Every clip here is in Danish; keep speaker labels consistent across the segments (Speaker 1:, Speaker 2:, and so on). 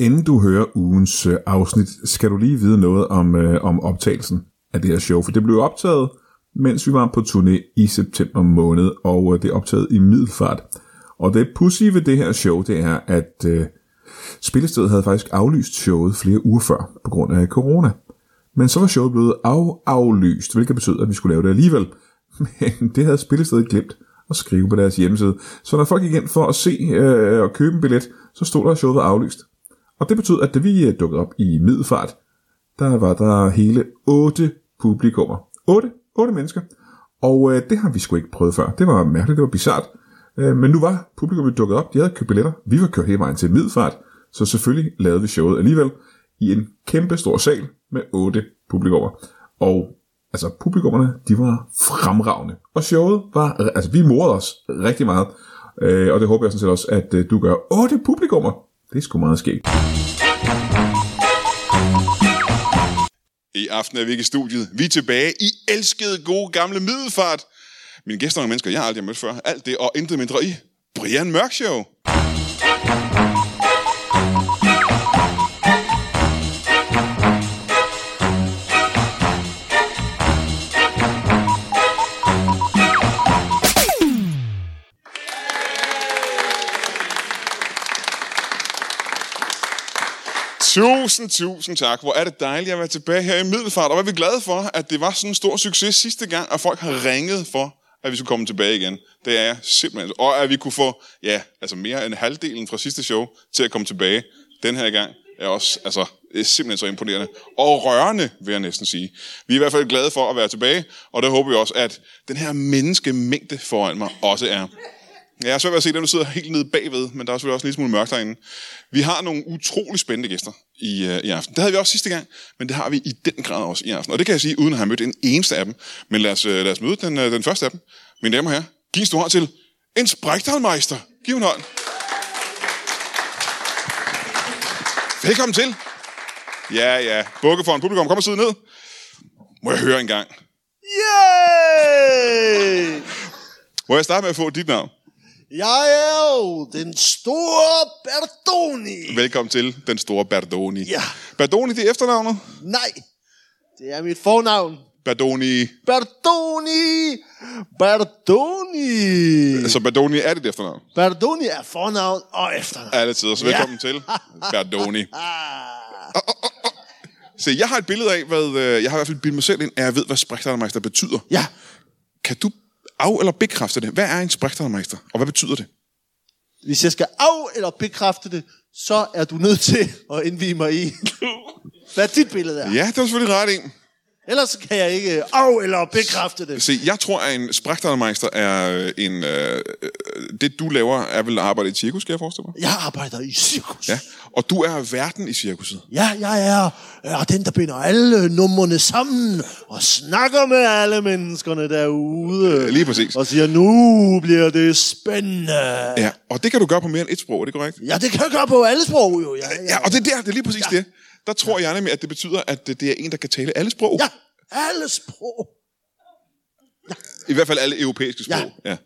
Speaker 1: Inden du hører ugens øh, afsnit, skal du lige vide noget om, øh, om optagelsen af det her show, for det blev optaget, mens vi var på turné i september måned, og øh, det er optaget i middelfart. Og det pussy ved det her show, det er, at øh, spillestedet havde faktisk aflyst showet flere uger før, på grund af corona. Men så var showet blevet af-aflyst, hvilket betød, at vi skulle lave det alligevel. Men det havde spillestedet glemt at skrive på deres hjemmeside. Så når folk gik ind for at se øh, og købe en billet, så stod der, at showet var aflyst. Og det betød, at da vi øh, dukkede op i middelfart, der var der hele otte publikummer. Otte, otte mennesker. Og øh, det har vi sgu ikke prøvet før. Det var mærkeligt, det var bizart. Øh, men nu var publikummet dukket op, de havde købt billetter. Vi var kørt hele vejen til middelfart, så selvfølgelig lavede vi showet alligevel i en kæmpe stor sal med otte publikummer. Og altså publikummerne, de var fremragende. Og showet var, altså vi morede os rigtig meget. Øh, og det håber jeg sådan set også, at øh, du gør otte publikummer. Det er sgu meget skægt.
Speaker 2: I aften er vi ikke i studiet. Vi er tilbage i elskede, gode, gamle middelfart. Mine gæster er nogle mennesker, jeg aldrig har mødt før. Alt det og intet mindre i Brian Mørk Show. Tusind, tusind tak. Hvor er det dejligt at være tilbage her i Middelfart. Og hvor er vi glade for, at det var sådan en stor succes sidste gang, og folk har ringet for, at vi skulle komme tilbage igen. Det er jeg simpelthen. Og at vi kunne få, ja, altså mere end halvdelen fra sidste show til at komme tilbage den her gang, er også, altså, det er simpelthen så imponerende. Og rørende, vil jeg næsten sige. Vi er i hvert fald glade for at være tilbage, og der håber vi også, at den her menneskemængde foran mig også er. Ja, jeg har svært ved at se dem, der sidder helt nede bagved, men der er selvfølgelig også en lille smule mørkt derinde. Vi har nogle utrolig spændende gæster i, øh, i aften. Det havde vi også sidste gang, men det har vi i den grad også i aften. Og det kan jeg sige, uden at have mødt en eneste af dem. Men lad os, øh, lad os møde den, øh, den første af dem. Mine damer og herrer, giv en stor hånd til en sprægtalmeister. Giv en hånd. Velkommen til. Ja, ja. Bukke for en publikum. Kom og sidde ned. Må jeg høre en gang?
Speaker 3: Yay!
Speaker 2: Må jeg starte med at få dit navn?
Speaker 3: Jeg er jo den store Bertoni.
Speaker 2: Velkommen til den store Berdoni.
Speaker 3: Ja.
Speaker 2: Berdoni, det er efternavnet.
Speaker 3: Nej, det er mit fornavn.
Speaker 2: Berdoni.
Speaker 3: Mm. Bertoni! Bertoni!
Speaker 2: Så Berdoni altså er dit efternavn.
Speaker 3: Bertoni er fornavn og efternavn.
Speaker 2: Alle tider, så velkommen ja. til Berdoni.
Speaker 3: Ah,
Speaker 2: Se, jeg har et billede af, hvad... øh, Jeg har i hvert fald bildet mig selv ind, at jeg ved, hvad sprægtalmeister betyder.
Speaker 3: ja,
Speaker 2: Kan du af- eller bekræfte det? Hvad er en sprægtalmeister, og hvad betyder det?
Speaker 3: hvis jeg skal af- eller bekræfte det, så er du nødt til at indvige mig i, hvad dit billede er.
Speaker 2: Ja, det var selvfølgelig ret en.
Speaker 3: Ellers kan jeg ikke af- eller bekræfte det.
Speaker 2: Se, jeg tror, at en sprægtalmeister er øh, en... Øh, øh, det, du laver, er vel at arbejde i et cirkus, skal jeg forestille mig?
Speaker 3: Jeg arbejder i cirkus.
Speaker 2: Ja, og du er verden i cirkuset.
Speaker 3: Ja, jeg er, er den, der binder alle numrene sammen og snakker med alle menneskerne derude.
Speaker 2: Lige præcis.
Speaker 3: Og siger, nu bliver det spændende.
Speaker 2: Ja, og det kan du gøre på mere end et sprog, er det korrekt?
Speaker 3: Ja, det kan jeg gøre på alle sprog, jo. Ja, ja.
Speaker 2: Ja, og det er der, det er lige præcis ja. det. Der tror jeg nemlig, at det betyder, at det det er en, der kan tale alle sprog.
Speaker 3: ja alle sprog.
Speaker 2: I hvert fald alle europæiske
Speaker 3: Ja.
Speaker 2: sprog. Ja. ja.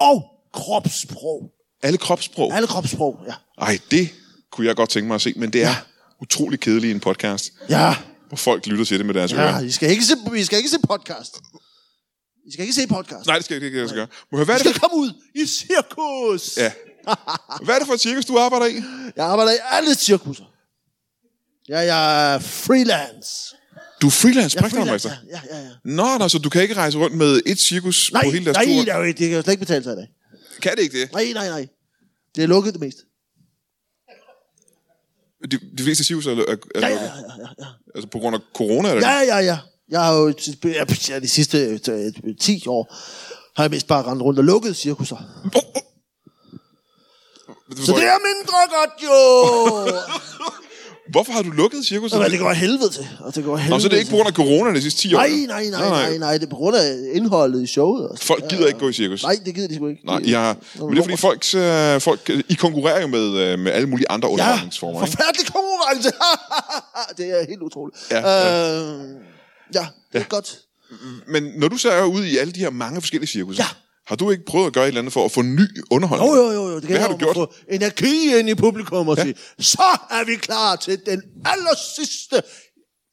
Speaker 3: Og kropssprog.
Speaker 2: Alle kropssprog.
Speaker 3: Alle kropssprog, ja.
Speaker 2: Ej, det kunne jeg godt tænke mig at se, men det er ja. utrolig kedeligt i en podcast,
Speaker 3: Ja,
Speaker 2: hvor folk lytter til det med deres ja. ører.
Speaker 3: ja. I, skal ikke se, I skal ikke se podcast. I skal ikke se podcast.
Speaker 2: Nej, det skal jeg ikke, det skal jeg gøre. Må jeg, hvad,
Speaker 3: I
Speaker 2: er det
Speaker 3: skal komme ud i cirkus.
Speaker 2: Ja. for, hvad er det for et cirkus, du arbejder i?
Speaker 3: Jeg arbejder i alle cirkusser. Ja, jeg er freelance.
Speaker 2: Du er freelance
Speaker 3: Jeg er freelance,
Speaker 2: prægtermeister.
Speaker 3: ja, ja, ja. ja.
Speaker 2: Nå, nå, så du kan ikke rejse rundt med et cirkus
Speaker 3: Nej,
Speaker 2: på hele deres
Speaker 3: nej,
Speaker 2: tur?
Speaker 3: nej, det kan jo slet ikke betale sig i dag.
Speaker 2: Kan det ikke det?
Speaker 3: Nej, nej, nej. Det er lukket det meste.
Speaker 2: De, de fleste cirkus er, er, er
Speaker 3: Ja, ja,
Speaker 2: lukket.
Speaker 3: ja, ja, ja.
Speaker 2: Altså på grund af corona? Eller?
Speaker 3: Ja, ja, ja. Jeg har jo t- ja, p- ja, de sidste øh, t- øh, 10 år har jeg mest bare rendt rundt og lukket cirkusser.
Speaker 2: Oh, oh.
Speaker 3: Så det er mindre godt, jo!
Speaker 2: Hvorfor har du lukket cirkus?
Speaker 3: Så, men det går af helvede til. Og det går af helvede
Speaker 2: Nå, så det er ikke på grund af corona de sidste 10 år?
Speaker 3: Nej, nej, nej, nej, nej. Det er på grund af indholdet i showet. og sådan.
Speaker 2: Folk gider ikke gå i cirkus.
Speaker 3: Nej, det gider de sgu ikke.
Speaker 2: Nej,
Speaker 3: De-
Speaker 2: jeg, men det er fordi folk, øh, folk, øh, I konkurrerer jo med, øh, med alle mulige andre
Speaker 3: Ja,
Speaker 2: underholdningsformer. ikke?
Speaker 3: forfærdelig konkurrence. det er helt utroligt.
Speaker 2: Ja, ja.
Speaker 3: øh, ja det er godt.
Speaker 2: Men når du så er ude i alle de her mange forskellige cirkus,
Speaker 3: Ja.
Speaker 2: Har du ikke prøvet at gøre et eller andet for at få ny underholdning?
Speaker 3: Jo, jo, jo, jo. Det
Speaker 2: Hvad har
Speaker 3: gælder
Speaker 2: du
Speaker 3: om
Speaker 2: gjort?
Speaker 3: at få energi ind i publikum og ja. sige, så er vi klar til den aller sidste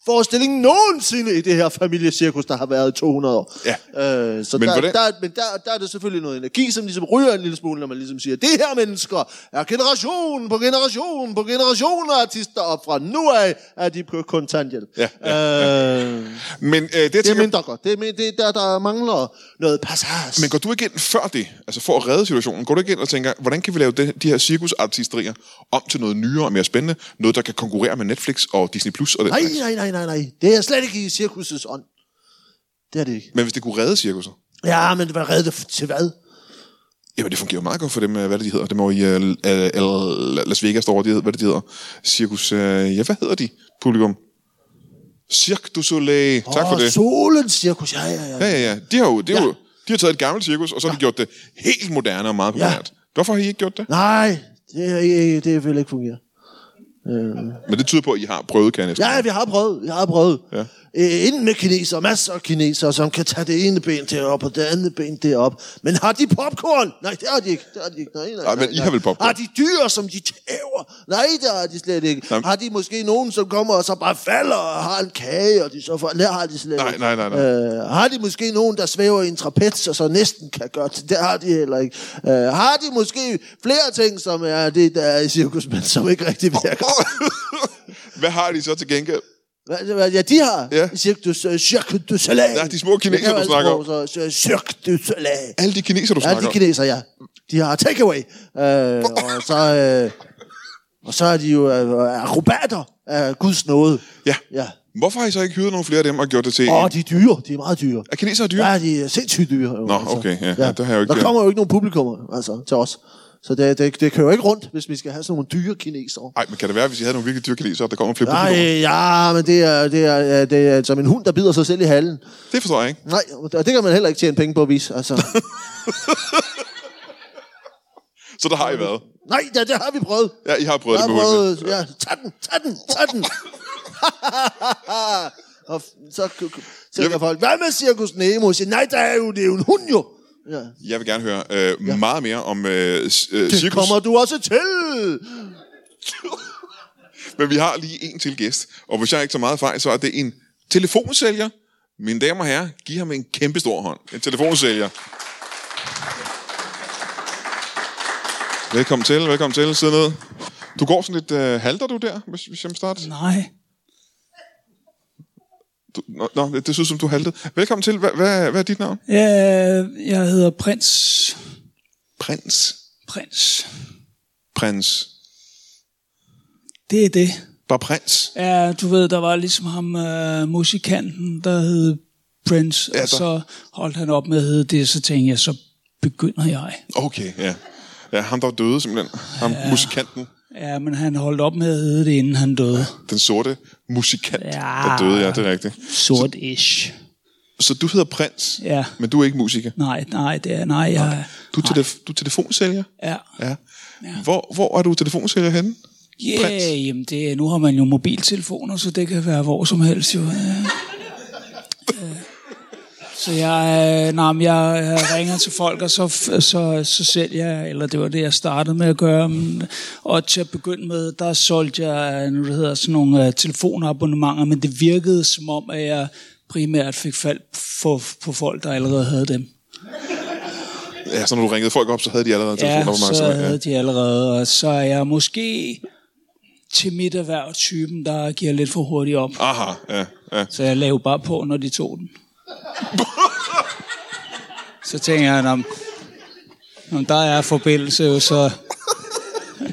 Speaker 3: forestilling nogensinde i det her familiecirkus, der har været i 200 år.
Speaker 2: Ja.
Speaker 3: Øh, så
Speaker 2: Men
Speaker 3: men der,
Speaker 2: hvordan-
Speaker 3: der, men der, der er det selvfølgelig noget energi, som ligesom ryger en lille smule, når man ligesom siger, det her mennesker er generation på generation på generation af artister, og fra nu af er de på kontanthjælp.
Speaker 2: Ja,
Speaker 3: ja, øh,
Speaker 2: Men øh, det, jeg
Speaker 3: Det er
Speaker 2: tænker,
Speaker 3: mindre godt. Det er, men- det er der, der mangler noget passage.
Speaker 2: Men går du ikke ind før det, altså for at redde situationen, går du ikke ind og tænker, hvordan kan vi lave det, de her cirkusartisterier om til noget nyere og mere spændende? Noget, der kan konkurrere med Netflix og Disney Plus og den
Speaker 3: Nej,
Speaker 2: slags?
Speaker 3: nej, nej, nej, nej. Det er slet ikke i cirkusets ånd. Det er det ikke.
Speaker 2: Men hvis det kunne redde cirkuset,
Speaker 3: Ja, men hvad redde det f- til hvad?
Speaker 2: jamen det fungerer jo meget godt for dem, øh, hvad er det, de hedder, dem over i øh, L- L- Las Vegas derovre, de hedder, hvad er det, de hedder, cirkus, øh, ja, hvad hedder de, publikum? Cirque du Soleil, tak for
Speaker 3: Åh,
Speaker 2: det.
Speaker 3: solens cirkus, ja, ja, ja.
Speaker 2: Ja, ja, ja, de har jo, det er
Speaker 3: Ja.
Speaker 2: jo, de har taget et gammelt cirkus, og så har de gjort det helt moderne og meget populært. Hvorfor har I ikke gjort det?
Speaker 3: Nej, det, er ikke- det vil ikke fungere.
Speaker 2: Men det tyder på, at I har prøvet, kan jeg næsten.
Speaker 3: Ja, vi har prøvet, vi har prøvet.
Speaker 2: Ja.
Speaker 3: Øh, inden med kineser, masser af kinesere, som kan tage det ene ben derop og det andet ben derop. Men har de popcorn? Nej, det har de ikke. Det har de ikke. Nej, nej,
Speaker 2: Ej,
Speaker 3: nej,
Speaker 2: men I
Speaker 3: nej.
Speaker 2: har vel popcorn?
Speaker 3: Har de dyr, som de tæver? Nej, det har de slet ikke.
Speaker 2: Nej.
Speaker 3: Har de måske nogen, som kommer og så bare falder og har en kage, og de så får... Det har de slet
Speaker 2: Nej,
Speaker 3: ikke.
Speaker 2: nej, nej, nej.
Speaker 3: Øh, har de måske nogen, der svæver i en trapez, og så næsten kan gøre det? Det har de heller ikke. Øh, har de måske flere ting, som er det, der er i cirkus, men som ikke rigtig virker?
Speaker 2: Hvad har de så til gengæld?
Speaker 3: Hvad, hvad, ja, de har.
Speaker 2: Ja.
Speaker 3: Ja. Cirque du, Cirque du Soleil.
Speaker 2: Ja, de små kinesere,
Speaker 3: Jeg
Speaker 2: du
Speaker 3: kan jo altså
Speaker 2: snakker om.
Speaker 3: prøve Så, så Cirque du Soleil.
Speaker 2: Alle de kineser, du
Speaker 3: Ja,
Speaker 2: snakker
Speaker 3: de
Speaker 2: om.
Speaker 3: kineser, ja. De har takeaway. Øh, og så... Øh, og så er de jo øh, akrobater af Guds nåde.
Speaker 2: Ja.
Speaker 3: ja.
Speaker 2: Hvorfor har I så ikke hyret nogle flere af dem og gjort det til...
Speaker 3: Og
Speaker 2: Oh,
Speaker 3: de er dyre. De er meget dyre.
Speaker 2: er kinesere dyre?
Speaker 3: Ja, de er sindssygt dyre. jo, altså.
Speaker 2: Nå, okay, ja. Ja, der har jeg jo ikke-
Speaker 3: der kommer jo ikke nogen publikummer altså, til os. Så det, det, det kører jo ikke rundt, hvis vi skal have sådan nogle dyre kinesere.
Speaker 2: Nej, men kan det være, hvis I havde nogle virkelig dyre kinesere, der kommer flere på
Speaker 3: Nej, ja, men det er, det, er, det er som en hund, der bider sig selv i halen.
Speaker 2: Det forstår jeg ikke.
Speaker 3: Nej, og det kan man heller ikke tjene penge på at vise. Altså.
Speaker 2: Så der har I været.
Speaker 3: Nej, ja, det har vi prøvet.
Speaker 2: Ja, I har prøvet
Speaker 3: Jeg
Speaker 2: det
Speaker 3: har
Speaker 2: med hundene.
Speaker 3: prøvet, ja, tag den, tag den, tag den. og f- så k- k- tænker
Speaker 2: Jamen.
Speaker 3: folk, hvad med Cirkus Nemo? Jeg siger, nej, der er jo, det er jo en hund jo. Ja.
Speaker 2: Jeg vil gerne høre øh, meget mere om øh, s- øh,
Speaker 3: Det
Speaker 2: cirkus.
Speaker 3: kommer du også til.
Speaker 2: Men vi har lige en til gæst. Og hvis jeg ikke tager meget fejl, så er det en telefonsælger. Mine damer og herrer, giv ham en kæmpe stor hånd. En telefonsælger. Velkommen til, velkommen til. Sid ned. Du går sådan lidt... Øh, halter du der, hvis, hvis jeg må starte?
Speaker 4: Nej.
Speaker 2: Du, nå, nå, det, det synes som du haltede. Velkommen til. Hvad, hvad, hvad er dit navn?
Speaker 4: Ja, jeg hedder Prins.
Speaker 2: Prins.
Speaker 4: Prins.
Speaker 2: Prins.
Speaker 4: Det er det.
Speaker 2: Bare prins.
Speaker 4: Ja, du ved, der var ligesom ham, øh, musikanten, der hed Prince,
Speaker 2: Ja,
Speaker 4: ja,
Speaker 2: der-
Speaker 4: og så holdt han op med at hedde det, så tænkte jeg, så begynder jeg.
Speaker 2: Okay, ja. Ja, ham der døde simpelthen. Ham ja. musikanten.
Speaker 4: Ja, men han holdt op med at hedde det, inden han døde.
Speaker 2: Den sorte musikant, ja.
Speaker 4: Ja.
Speaker 2: der døde, ja, det er rigtigt.
Speaker 4: Sort-ish.
Speaker 2: Så du hedder prins,
Speaker 4: Ja.
Speaker 2: men du er ikke musiker.
Speaker 4: Nej, nej, det er, nej, jeg,
Speaker 2: Du er, telef- du er telefonsælger?
Speaker 4: ja.
Speaker 2: Ja. Hvor, hvor er du telefonsælger henne? Prins.
Speaker 4: Yeah, jamen det, nu har man jo mobiltelefoner, så det kan være hvor som helst jo. Ja. Øh, Så jeg, øh, nej, men jeg øh, ringer til folk, og så, f- så, så sælger jeg, eller det var det, jeg startede med at gøre. men- Og til at begynde med, der solgte jeg, øh, nu det hedder sådan nogle øh, telefonabonnementer, men det virkede som om, at jeg primært fik fald på, på folk, der allerede havde dem.
Speaker 2: Ja, så når du ringede folk op, så havde de allerede en telefon
Speaker 4: Ja,
Speaker 2: op mig.
Speaker 4: så havde
Speaker 2: Ja.
Speaker 4: de allerede, og så er jeg måske til mit erhverv typen, der giver lidt for hurtigt op.
Speaker 2: Aha, ja, ja.
Speaker 4: Så jeg lavede bare på, når de tog den. så tænker jeg, om, om der er forbindelse, jo, så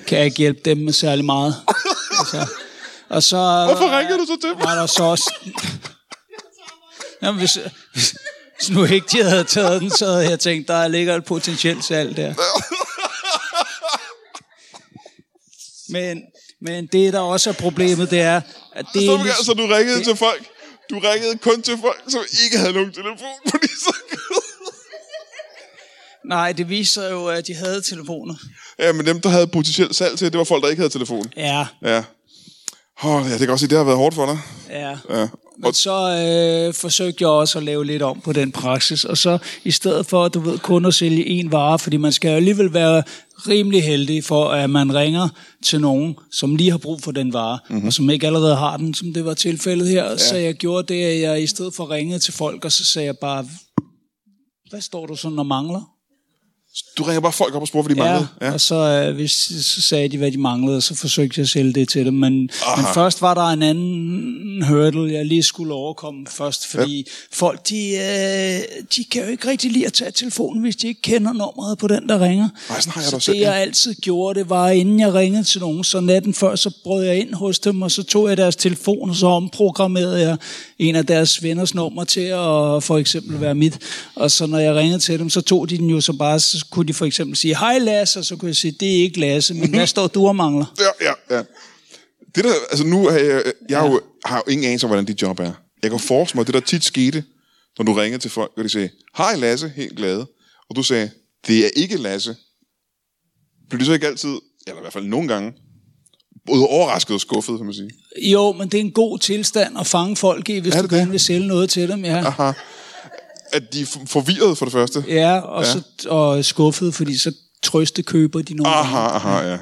Speaker 4: kan jeg ikke hjælpe dem med særlig meget. Altså, og så
Speaker 2: Hvorfor ringede du så til mig?
Speaker 4: var der så også... Jamen, hvis, hvis, hvis nu ikke de havde taget den, så havde jeg tænkt, der ligger et potentielt salg der. Men, men det, der også er problemet, det er, at det
Speaker 2: Så,
Speaker 4: er...
Speaker 2: du- så du ringede til folk? Du ringede kun til folk, som ikke havde nogen telefon, fordi så
Speaker 4: Nej, det viser jo, at de havde telefoner.
Speaker 2: Ja, men dem, der havde potentielt salg til, det var folk, der ikke havde telefon.
Speaker 4: Ja,
Speaker 2: Ja. Åh, oh, ja, det kan også sige, det har været hårdt for dig.
Speaker 4: ja.
Speaker 2: Ja.
Speaker 4: Men så øh, forsøgte jeg også at lave lidt om på den praksis, og så i stedet for, du ved, kun at sælge én vare, fordi man skal jo alligevel være rimelig heldig for, at man ringer til nogen, som lige har brug for den vare, mm-hmm. og som ikke allerede har den, som det var tilfældet her. Ja. Så jeg gjorde det, at jeg i stedet for ringede til folk, og så sagde jeg bare, hvad står du sådan og mangler?
Speaker 2: Du ringer bare folk op og spørger, hvad de manglede.
Speaker 4: Ja, og så, øh, hvis, så sagde de, hvad de manglede, og så forsøgte jeg at sælge det til dem. Men, men først var der en anden hurdle, jeg lige skulle overkomme først, fordi ja. folk, de, øh, de kan jo ikke rigtig lide at tage telefonen, hvis de ikke kender nummeret på den, der ringer.
Speaker 2: Ej, sådan har jeg
Speaker 4: så
Speaker 2: da selv,
Speaker 4: det,
Speaker 2: ja.
Speaker 4: jeg altid gjorde, det var, inden jeg ringede til nogen, så natten før, så brød jeg ind hos dem, og så tog jeg deres telefon, og så omprogrammerede jeg en af deres venners nummer til at for eksempel være mit. Og så når jeg ringede til dem, så tog de den jo så bare, så kunne de for eksempel sige, hej Lasse, og så kunne jeg sige, det er ikke Lasse, men
Speaker 2: Mhm.
Speaker 4: hvad står du og mangler?
Speaker 2: Ja, ja, ja. Det der, altså nu har jeg, jeg ja. jo, har jo ingen anelse om, hvordan dit job er. Jeg kan forestille mig, det der tit skete, når du ringer til folk, og de sagde, hej Lasse, helt glade. Og du sagde, det er ikke Lasse. Bliver du så ikke altid, eller i hvert fald nogle gange, både overrasket og skuffet, kan man sige.
Speaker 4: Jo, men det er en god tilstand at fange folk i, hvis
Speaker 2: Er
Speaker 4: du
Speaker 2: det
Speaker 4: gerne
Speaker 2: det?
Speaker 4: vil sælge noget til dem. Ja.
Speaker 2: Aha. At de er for- forvirret for det første.
Speaker 4: Ja, og, ja. Så, og skuffet, fordi så trøste køber de nogle gange.
Speaker 2: Aha, aha, ja.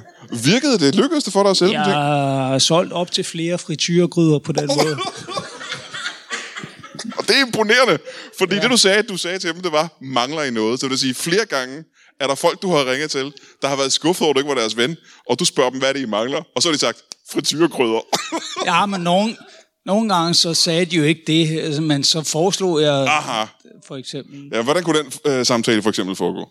Speaker 2: Virkede det? Lykkedes det for dig at sælge ja.
Speaker 4: Jeg
Speaker 2: dem ting?
Speaker 4: har solgt op til flere frityregryder på den måde.
Speaker 2: Og det er imponerende, fordi ja. det du sagde, du sagde til dem, det var, mangler I noget? Så det vil sige, flere gange er der folk, du har ringet til, der har været skuffet over, at du ikke var deres ven, og du spørger dem, hvad det er, I mangler, og så har de sagt, frityrekrydder.
Speaker 4: Ja, men nogen, nogle gange så sagde de jo ikke det, altså, men så foreslog jeg
Speaker 2: Aha.
Speaker 4: for eksempel,
Speaker 2: Ja, hvordan kunne den øh, samtale for eksempel foregå?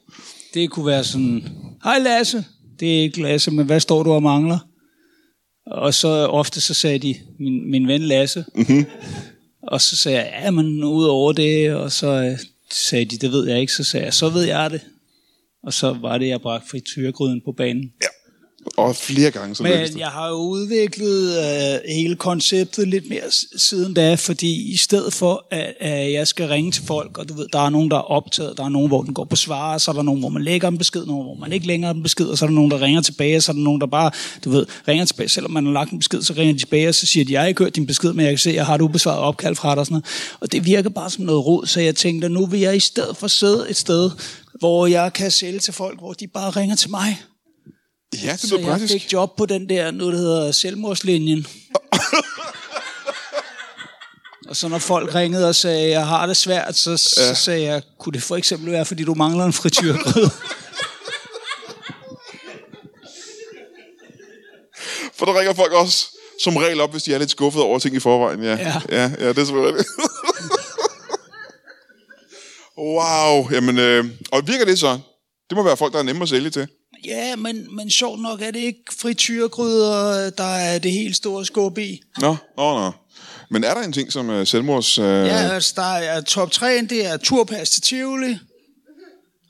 Speaker 4: det kunne være sådan, hej Lasse, det er ikke Lasse, men hvad står du og mangler? Og så ofte så sagde de, min, min ven Lasse. Mm-hmm. Og så sagde jeg, ja, men ud over det, og så øh, sagde de, det ved jeg ikke, så sagde jeg, så ved jeg det. Og så var det, jeg bragte frityregryden på banen.
Speaker 2: Og flere gange, så lykkedes
Speaker 4: Men
Speaker 2: det.
Speaker 4: jeg har jo udviklet øh, hele konceptet lidt mere s- siden da, fordi i stedet for, at, at jeg skal ringe til folk, og du ved, der er nogen, der er optaget, der er nogen, hvor den går på svare, så er der nogen, hvor man lægger en besked, nogen, hvor man ikke lægger en besked, og så er der nogen, der ringer tilbage, og så er der nogen, der bare, du ved, ringer tilbage. Selvom man har lagt en besked, så ringer de tilbage, og så siger de, jeg har ikke hørt din besked, men jeg kan se, jeg har et ubesvaret opkald fra dig og sådan noget. Og det virker bare som noget rod, så jeg tænkte, nu vil jeg i stedet for sidde et sted, hvor jeg kan sælge til folk, hvor de bare ringer til mig.
Speaker 2: Ja, det
Speaker 4: Så
Speaker 2: lyder
Speaker 4: jeg
Speaker 2: praktisk.
Speaker 4: fik job på den der, nu det hedder selvmordslinjen. og så når folk ringede og sagde, jeg har det svært, så, ja. så sagde jeg, kunne det for eksempel være, fordi du mangler en frityrgryde?
Speaker 2: For der ringer folk også som regel op, hvis de er lidt skuffet over ting i forvejen. Ja,
Speaker 4: Ja.
Speaker 2: ja, ja det er selvfølgelig det. wow, jamen, øh, og virker det så? Det må være folk, der er nemme at sælge til.
Speaker 4: ja, men, men sjovt nok er det ikke frityrgryder, der er det helt store skub i.
Speaker 2: Nå, nå, nå. Men er der en ting, som øh, selvmords... Øh,
Speaker 4: Ja, altså, der er top 3, det er turpas til Tivoli,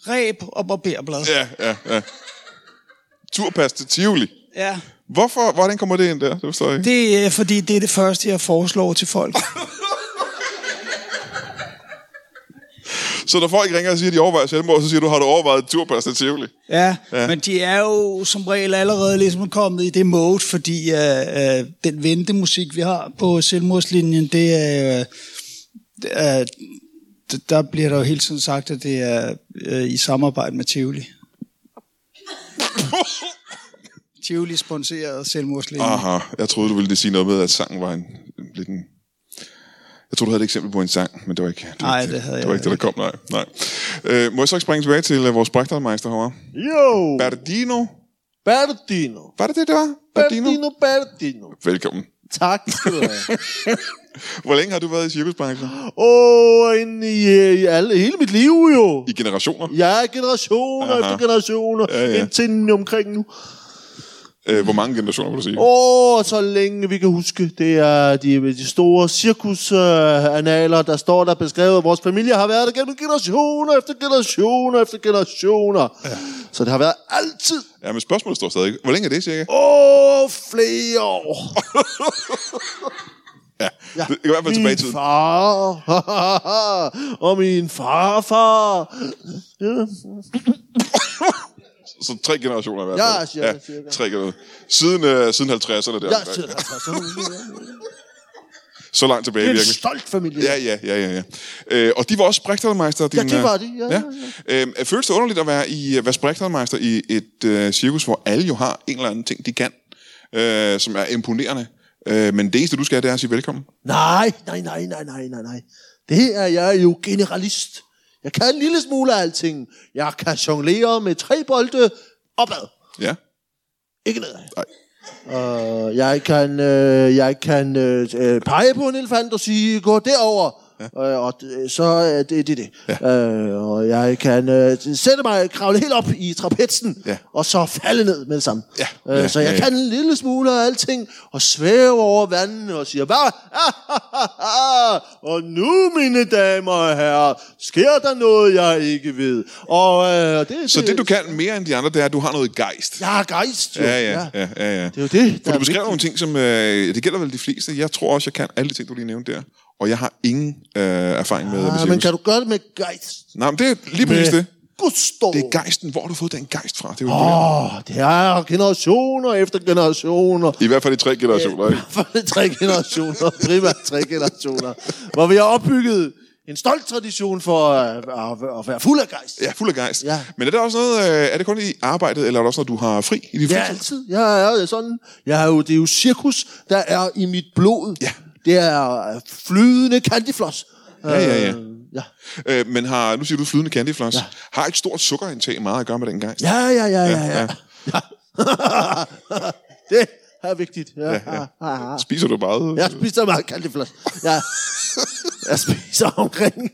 Speaker 4: ræb og barberblad. Ja.
Speaker 2: ja, ja, ja. Turpas til Tivoli.
Speaker 4: ja.
Speaker 2: Hvorfor, hvordan kommer det ind der? Det forstår jeg ikke.
Speaker 4: Det er fordi, det er det første, jeg foreslår til folk.
Speaker 2: Så når folk ringer og siger, at de overvejer selvmord, så siger du, har du overvejet turpas til Tivoli?
Speaker 4: Ja, ja, men de er jo som regel allerede ligesom kommet i det mode, fordi øh, øh, den ventemusik, vi har på selvmordslinjen, det er... Øh, det er- d- der bliver der jo hele tiden sagt, at det er øh, i samarbejde med Tivoli. Tivoli sponsorer selvmordslinjen. Ah.
Speaker 2: Aha, jeg troede, du ville sige noget med, at sangen var en lidt en... Jeg troede, du havde et eksempel på en sang, men det var ikke det, var
Speaker 4: Nej,
Speaker 2: ikke,
Speaker 4: det havde
Speaker 2: det
Speaker 4: jeg
Speaker 2: var ikke det, der kom. Nej, nej. Øh, må jeg så ikke springe tilbage til uh, vores brægtermeister herovre?
Speaker 3: Jo!
Speaker 2: Bardino?
Speaker 3: Bertino.
Speaker 2: Var det det, det var? Bardino?
Speaker 3: Bertino, Bertino.
Speaker 2: Velkommen.
Speaker 3: Tak skal du have.
Speaker 2: Hvor længe har du været i cirkusbranchen?
Speaker 3: Åh, ind i, øh, i alle, hele mit liv jo.
Speaker 2: I generationer?
Speaker 3: Jeg er generationer
Speaker 2: Aha.
Speaker 3: Aha. efter generationer,
Speaker 2: Ja, ja.
Speaker 3: indtil omkring nu.
Speaker 2: Øh, hvor mange generationer, vil du sige?
Speaker 3: Åh, så længe vi kan huske, det er de, de store cirkusanaler, øh, analer, der står der beskrevet, at vores familie har været der gennem generationer efter generationer efter generationer. Ja. Så det har været altid.
Speaker 2: Ja, men spørgsmålet står stadig. Hvor længe er det, cirka?
Speaker 3: Åh, flere år.
Speaker 2: Ja, ja. Det, det kan i hvert fald tilbage i
Speaker 3: min
Speaker 2: tiden.
Speaker 3: far, og min farfar. Ja.
Speaker 2: Så tre generationer i hvert
Speaker 3: Ja,
Speaker 2: fald.
Speaker 3: cirka, cirka.
Speaker 2: tre generationer. Siden, øh, siden 50'erne der.
Speaker 3: Jeg sidder her, så-
Speaker 2: Så langt tilbage
Speaker 3: Det er altså, en
Speaker 2: virkelig.
Speaker 3: stolt familie.
Speaker 2: Ja, ja, ja, ja. ja. Øh, og de var også Sprechtelmeister.
Speaker 3: Ja, det var de, ja, ja,
Speaker 2: ja. Øh, føles det underligt at være, i, at være Sprechtelmeister i et øh, cirkus, hvor alle jo har en eller anden ting, de kan, øh, som er imponerende. Øh, men det eneste, du skal, det er at sige velkommen.
Speaker 3: Nej, nej, nej, nej, nej, nej, nej. Det er jeg jo generalist. Jeg kan en lille smule af alting. Jeg kan jonglere med tre bolde opad.
Speaker 2: Ja.
Speaker 3: Ikke nedad.
Speaker 2: Nej.
Speaker 3: Uh, jeg kan, øh, jeg kan øh, øh, pege på en elefant og sige, gå derover. Ja. Øh, og d- så er det det. det. Ja. Øh, og jeg kan øh, sætte mig, kravle helt op i trapezen,
Speaker 2: Ja.
Speaker 3: og så falde ned med det samme.
Speaker 2: Ja.
Speaker 3: Øh,
Speaker 2: Ja,
Speaker 3: så jeg
Speaker 2: ja, ja.
Speaker 3: kan en lille smule af alting, og svæve over vandet og siger, hvad? Ah, ah, ah, ah. og nu, mine damer og herrer, sker der noget, jeg ikke ved. Og, øh, det,
Speaker 2: Så det, du kan mere end de andre, det er, at du har noget gejst.
Speaker 3: Jeg har gejst, jo.
Speaker 2: Ja, ja, ja, ja. ja.
Speaker 3: Det er jo
Speaker 2: For
Speaker 3: det,
Speaker 2: du
Speaker 3: der er
Speaker 2: beskrev
Speaker 3: vigtigt.
Speaker 2: nogle ting, som... Øh, det gælder vel de fleste. Jeg tror også, jeg kan alle de ting, du lige nævnte der. Og jeg har ingen øh, erfaring med, ah, med
Speaker 3: Ah,
Speaker 2: cirkus.
Speaker 3: men kan du gøre det med gejst?
Speaker 2: Nej, men det er lige præcis det.
Speaker 3: Gusto.
Speaker 2: Det er gejsten. Hvor har du fået den gejst fra? Det er jo imponerende.
Speaker 3: Åh, oh, det er generationer efter generationer.
Speaker 2: I hvert fald i tre generationer, ikke?
Speaker 3: For det er tre generationer, primært tre generationer, hvor vi har opbygget en stolt tradition for at, at, at være fuld af gejst.
Speaker 2: Ja, fuld af gejst.
Speaker 3: Ja.
Speaker 2: Men er det også noget, øh, er det kun i arbejdet, eller er det også, når du har fri i din
Speaker 3: Ja,
Speaker 2: fritid?
Speaker 3: altid. Jeg er jo sådan. Jeg er jo, det er jo cirkus, der er i mit blod.
Speaker 2: Ja.
Speaker 3: Det er øh, flydende candyfloss.
Speaker 2: Ja, ja, ja.
Speaker 3: Øh, ja.
Speaker 2: Øh, men har, nu siger du flydende candyfloss. Ja. Har et stort sukkerindtag meget at gøre med den gejst?
Speaker 3: Ja, ja, ja, ja,
Speaker 2: ja.
Speaker 3: ja. ja. det er vigtigt. Ja,
Speaker 2: ja.
Speaker 3: ja, ja.
Speaker 2: Spiser du bare?
Speaker 3: Jeg spiser meget candyfloss. Jeg, jeg spiser omkring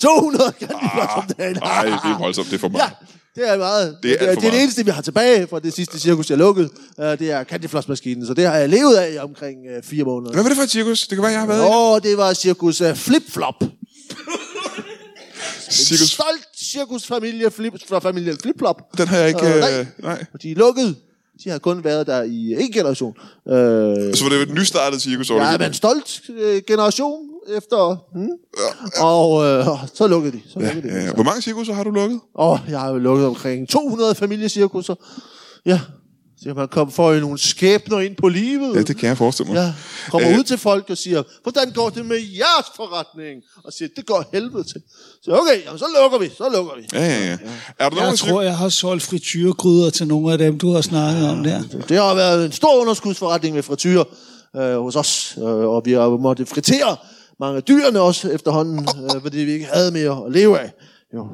Speaker 3: 200 candyfloss om dagen.
Speaker 2: Nej, Ah, det er voldsomt. Det er for
Speaker 3: Ja,
Speaker 2: meget.
Speaker 3: det er meget.
Speaker 2: Det er alt for
Speaker 3: det, er det
Speaker 2: meget.
Speaker 3: eneste, vi har tilbage fra det sidste cirkus, jeg lukkede. Uh, det er candyfloss-maskinen, så det har jeg levet af i omkring uh, fire måneder.
Speaker 2: Hvad var det for et cirkus? Det kan være, jeg har været i.
Speaker 3: Åh, det var cirkus uh, Flip-Flop.
Speaker 2: Cirkus.
Speaker 3: Stolt cirkusfamilie flip, fra familien Flip-Flop.
Speaker 2: Den har jeg ikke...
Speaker 3: Øh,
Speaker 2: Øh,
Speaker 3: nej.
Speaker 2: nej.
Speaker 3: Og de er lukket. De har kun været der i en generation. Uh,
Speaker 2: Så var det jo et nystartet cirkus, over
Speaker 3: Ja,
Speaker 2: det.
Speaker 3: men en stolt øh, generation efter... Hmm? Og øh, så lukkede de. Så lukkede de.
Speaker 2: Ja, ja. Øh, Hvor mange cirkuser har du lukket?
Speaker 3: Og jeg har jo lukket omkring 200 familiecirkusser. Ja, så man kom for nogle skæbner ind på livet.
Speaker 2: Ja, det kan jeg forestille mig.
Speaker 3: Ja, kommer
Speaker 2: Øh.
Speaker 3: øh... ud til folk og siger, hvordan går det med jeres forretning? Og siger, det går helvede til. Så okay, jamen, så lukker vi, så lukker vi.
Speaker 2: Ja, ja, ja. Er der nogen
Speaker 4: Jeg tror, jeg har solgt frityregryder til nogle af dem, du har snakket om der.
Speaker 3: Det har været en stor underskudsforretning med frityrer øh, hos os, øh, og vi har måttet fritere mange af dyrene også efterhånden, øh, fordi vi ikke havde mere at leve af. Jo.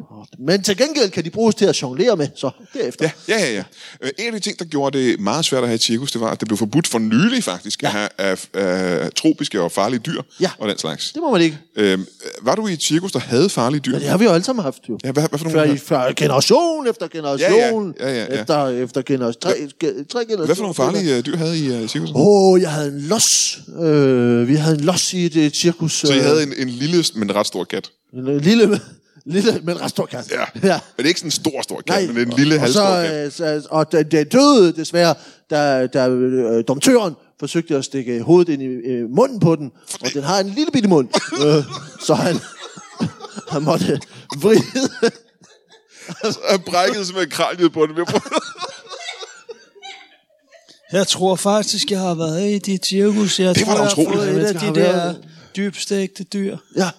Speaker 3: Men til gengæld kan de bruges til at jonglere med, så derefter.
Speaker 2: Ja, ja, ja. ja. Øh, En af de ting, der gjorde det meget svært at have et cirkus, det var, at det blev forbudt for nylig faktisk ja. at have af, af, tropiske og farlige dyr
Speaker 3: Ja.
Speaker 2: og den slags.
Speaker 3: Det må man ikke.
Speaker 2: Øhm, var du i et cirkus, der havde farlige dyr?
Speaker 3: Ja, det har vi jo alle sammen haft, jo.
Speaker 2: Ja, hvad, hvad for nogle?
Speaker 3: Før,
Speaker 2: har-
Speaker 3: i, før generation efter generation,
Speaker 2: Ja, ja, ja, ja, ja.
Speaker 3: efter, efter generation, tre, ge- tre generationer.
Speaker 2: Hvad for nogle farlige øh, dyr havde I øh, i cirkuset?
Speaker 3: Åh, oh, jeg havde en los. Øh, vi havde en los i et, et cirkus. øh,
Speaker 2: Så I havde en, en lille, men ret stor kat?
Speaker 3: en lille, lille, men ret stor kasse. ja.
Speaker 2: Men det er ikke sådan en stor, stor kat, men en lille,
Speaker 3: og,
Speaker 2: halvstor kat.
Speaker 3: så, øh, så, og den, den døde desværre, da, da øh, domtøren forsøgte at stikke hovedet ind i øh, munden på den, og den har en lille bitte mund, øh, så han, han måtte vride.
Speaker 2: Jeg brækkede simpelthen kraniet på den. ved at prøve-
Speaker 4: Jeg tror faktisk, jeg har været i dit cirkus. Jeg
Speaker 2: Det var da
Speaker 4: tror, jeg har
Speaker 2: utroligt.
Speaker 4: fået
Speaker 3: Jeg
Speaker 4: et
Speaker 3: ved,
Speaker 4: af
Speaker 3: der har
Speaker 4: de der
Speaker 3: været-
Speaker 4: dybstægte dyr.
Speaker 3: Ja,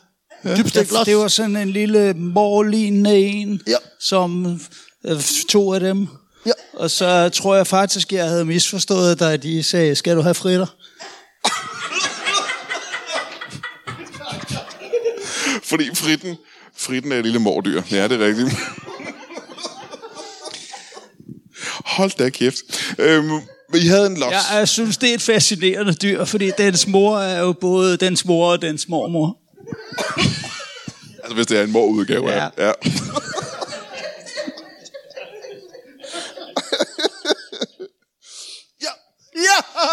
Speaker 3: dybt
Speaker 4: Det,
Speaker 3: stegt los.
Speaker 4: det var sådan en lille morlignende en,
Speaker 3: Ja.
Speaker 4: som øh, to af dem.
Speaker 3: Ja.
Speaker 4: Og så tror jeg faktisk, jeg havde misforstået dig, de sagde, skal du have fritter?
Speaker 2: Fordi fritten, fritten er et lille mordyr. Ja, det er rigtigt. Hold da kæft. Øhm, men I havde en los.
Speaker 4: Jeg, jeg synes, det er et fascinerende dyr, fordi dens mor er jo både dens mor og dens mormor.
Speaker 2: Altså, hvis det er en morudgave. Ja.
Speaker 4: Ja.
Speaker 2: ja.
Speaker 3: Ja, ja.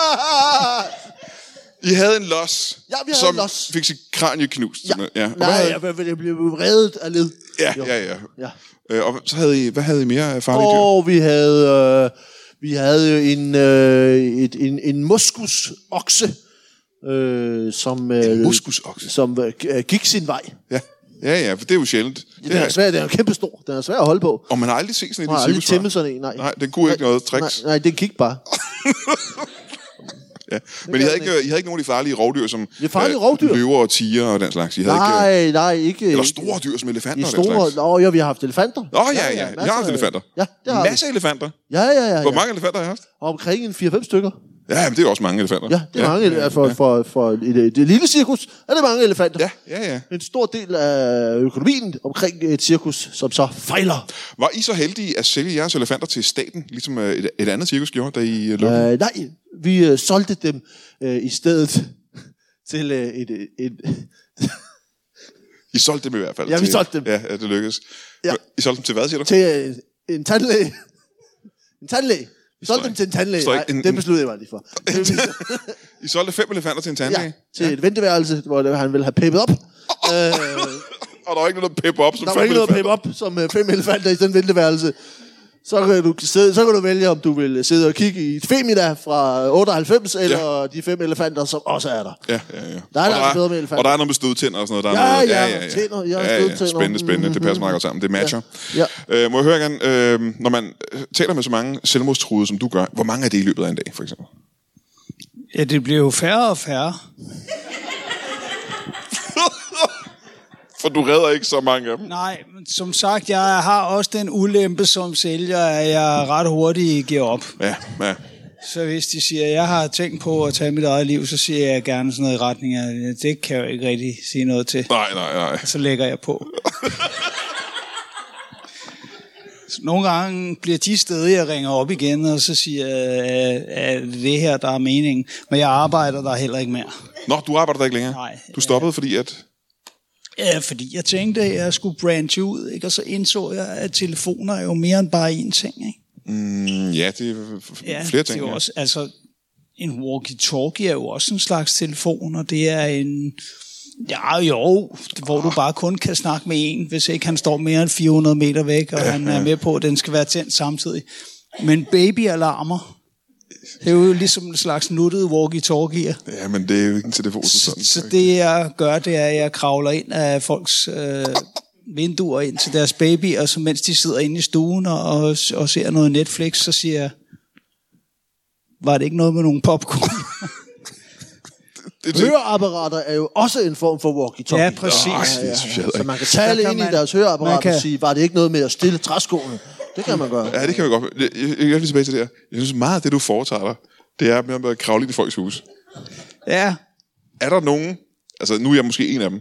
Speaker 2: I havde en los,
Speaker 3: Ja, vi havde
Speaker 2: som
Speaker 3: en los.
Speaker 2: fik sit kranje knust.
Speaker 3: Ja.
Speaker 2: ja.
Speaker 3: ja.
Speaker 2: Og hvad
Speaker 3: Nej,
Speaker 2: havde,
Speaker 3: jeg, jeg, jeg blev reddet af led.
Speaker 2: ja,
Speaker 3: Jo.
Speaker 2: ja, ja.
Speaker 3: ja.
Speaker 2: Øh, og så havde I, hvad havde I mere øh, farlige dyr?
Speaker 3: Og vi havde, øh, vi havde jo en, øh, et, en, en moskusokse, øh, som, øh,
Speaker 2: Muskusokse.
Speaker 3: som øh, g- øh, gik sin vej.
Speaker 2: Ja. ja, ja, for det er jo sjældent.
Speaker 3: Ja, den, er svær, den er kæmpestor. Den er svær at holde på.
Speaker 2: Og man har aldrig set sådan
Speaker 3: Man
Speaker 2: en
Speaker 3: har
Speaker 2: i et
Speaker 3: aldrig
Speaker 2: cirkus.
Speaker 3: tæmmet
Speaker 2: før.
Speaker 3: sådan en, nej.
Speaker 2: Nej, den kunne ikke noget tricks.
Speaker 3: Nej, nej den gik bare.
Speaker 2: Ja. Men I havde, ikke, I havde ikke nogen af de farlige rovdyr, som
Speaker 3: De farlige
Speaker 2: øh,
Speaker 3: rovdyr?
Speaker 2: løver og tiger og den slags. I havde ikke,
Speaker 3: Nej, nej, ikke...
Speaker 2: øh, eller store dyr som elefanter
Speaker 3: De
Speaker 2: og den
Speaker 3: store...
Speaker 2: slags.
Speaker 3: Nå, ja, vi har haft elefanter.
Speaker 2: Nå, ja, ja. Vi har
Speaker 3: masser
Speaker 2: haft
Speaker 3: af-
Speaker 2: elefanter.
Speaker 3: Ja, det har
Speaker 2: Masser af elefanter.
Speaker 3: vi. Ja, ja, ja.
Speaker 2: Hvor
Speaker 3: ja.
Speaker 2: mange elefanter har I haft?
Speaker 3: Omkring en 4-5 stykker.
Speaker 2: Ja, men det er også mange elefanter.
Speaker 3: Ja, det er ja, mange. Ja, for, for, for et, et, et lille cirkus er det mange elefanter.
Speaker 2: Ja, ja, ja.
Speaker 3: En stor del af økonomien omkring et cirkus, som så fejler.
Speaker 2: Var I så heldige at sælge jeres elefanter til staten, ligesom øh, et, et andet cirkus gjorde, da I øh, løb?
Speaker 3: Øh, nej, vi øh, solgte dem øh, i stedet til øh, et, et, et...
Speaker 2: I solgte dem i hvert fald.
Speaker 3: Ja, vi
Speaker 2: til-
Speaker 3: solgte dem.
Speaker 2: Ja, ja, det lykkedes.
Speaker 3: Ja.
Speaker 2: Ja. I solgte dem til hvad, siger du?
Speaker 3: til øh, en tandlæge. En tandlæge. Vi solgte
Speaker 2: Sorry.
Speaker 3: dem til en tandlæge.
Speaker 2: Sorry,
Speaker 3: Nej,
Speaker 2: en-
Speaker 3: det
Speaker 2: en-
Speaker 3: besluttede jeg mig lige for.
Speaker 2: I solgte fem elefanter til en tandlæge?
Speaker 3: Ja, til et venteværelse, hvor han ville have peppet op. Øh,
Speaker 2: Og der var ikke noget der pep op som
Speaker 3: Der
Speaker 2: fem
Speaker 3: var ikke noget at
Speaker 2: elefanter.
Speaker 3: pippe op som øh, fem elefanter i sådan en venteværelse. Så kan, du sidde, så kan du vælge, om du vil sidde og kigge i et femida fra 98, eller de fem elefanter, som også er der.
Speaker 2: Ja, ja, ja.
Speaker 3: Der
Speaker 2: og
Speaker 3: er altså bedre med elefanter.
Speaker 2: Og der er noget med stødtænder og sådan noget. Der er
Speaker 3: Ja,
Speaker 2: noget,
Speaker 3: ja, tænder, ja, stødtænder. Mhm.
Speaker 2: Spændende, spændende. Det passer meget godt sammen. Det matcher.
Speaker 3: Ja.
Speaker 2: Øh, må jeg høre igen, øh, når man øh, taler med så mange selvmordstruede, som du gør, hvor mange er det i løbet af en dag, for eksempel?
Speaker 4: Ja, det bliver jo færre og færre.
Speaker 2: For du redder ikke så mange af dem.
Speaker 4: Nej, men som sagt, jeg har også den ulempe som sælger, at jeg ret hurtigt giver op.
Speaker 2: Ja, ja.
Speaker 4: Så hvis de siger, at jeg har tænkt på at tage mit eget liv, så siger jeg gerne sådan noget i retning af, "Ja, det kan jeg jo ikke rigtig sige noget til.
Speaker 2: Nej, nej, nej.
Speaker 4: Så lægger jeg på. Så Nogle gange bliver de steder, jeg ringer op igen, og så siger jeg, at det her, der er meningen. Men jeg arbejder der heller ikke mere.
Speaker 2: Nå, du arbejder der ikke længere?
Speaker 4: Nej,
Speaker 2: Du stoppede, fordi at...
Speaker 4: Ja, fordi jeg tænkte, at jeg skulle branche ud, ikke? og så indså jeg, at telefoner er jo mere end bare én ting. Ikke?
Speaker 2: Mm, ja, det er f- f-
Speaker 4: Ja,
Speaker 2: flere
Speaker 4: det
Speaker 2: ting.
Speaker 4: er jo
Speaker 2: ja.
Speaker 4: også, altså, en walkie-talkie er jo også en slags telefon, og det er en... Ja, jo, hvor du bare kun kan snakke med en, hvis ikke han står mere end 400 meter væk, og han er med på, at den skal være tændt samtidig. Men babyalarmer, det er jo ligesom en slags nuttede walkie-talkie.
Speaker 2: Ja, men det er jo ikke en telefon som sådan.
Speaker 4: Så det jeg gør, det er, at jeg kravler ind af folks øh, vinduer ind til deres baby, og så mens de sidder inde i stuen og, og, og ser noget Netflix, så siger jeg, var det ikke noget med nogle popcorn?
Speaker 2: det, det,
Speaker 3: Høreapparater er jo også en form for walkie-talkie.
Speaker 4: ja, præcis.
Speaker 2: det synes jeg heller
Speaker 3: Så
Speaker 2: ikke.
Speaker 3: man kan
Speaker 4: Der
Speaker 3: tale
Speaker 4: kan
Speaker 3: ind i
Speaker 4: man-
Speaker 3: deres høreapparat
Speaker 4: man kan-
Speaker 3: og sige, var det ikke noget med at stille træskoene? Det kan man gøre.
Speaker 2: Ja, det kan vi godt. Jeg, jeg, jeg er lige tilbage til det her. Jeg synes meget, af det du foretager dig, det er med at kravle ind i folks hus.
Speaker 4: Ja,
Speaker 2: Er der nogen, altså nu er jeg måske en af dem,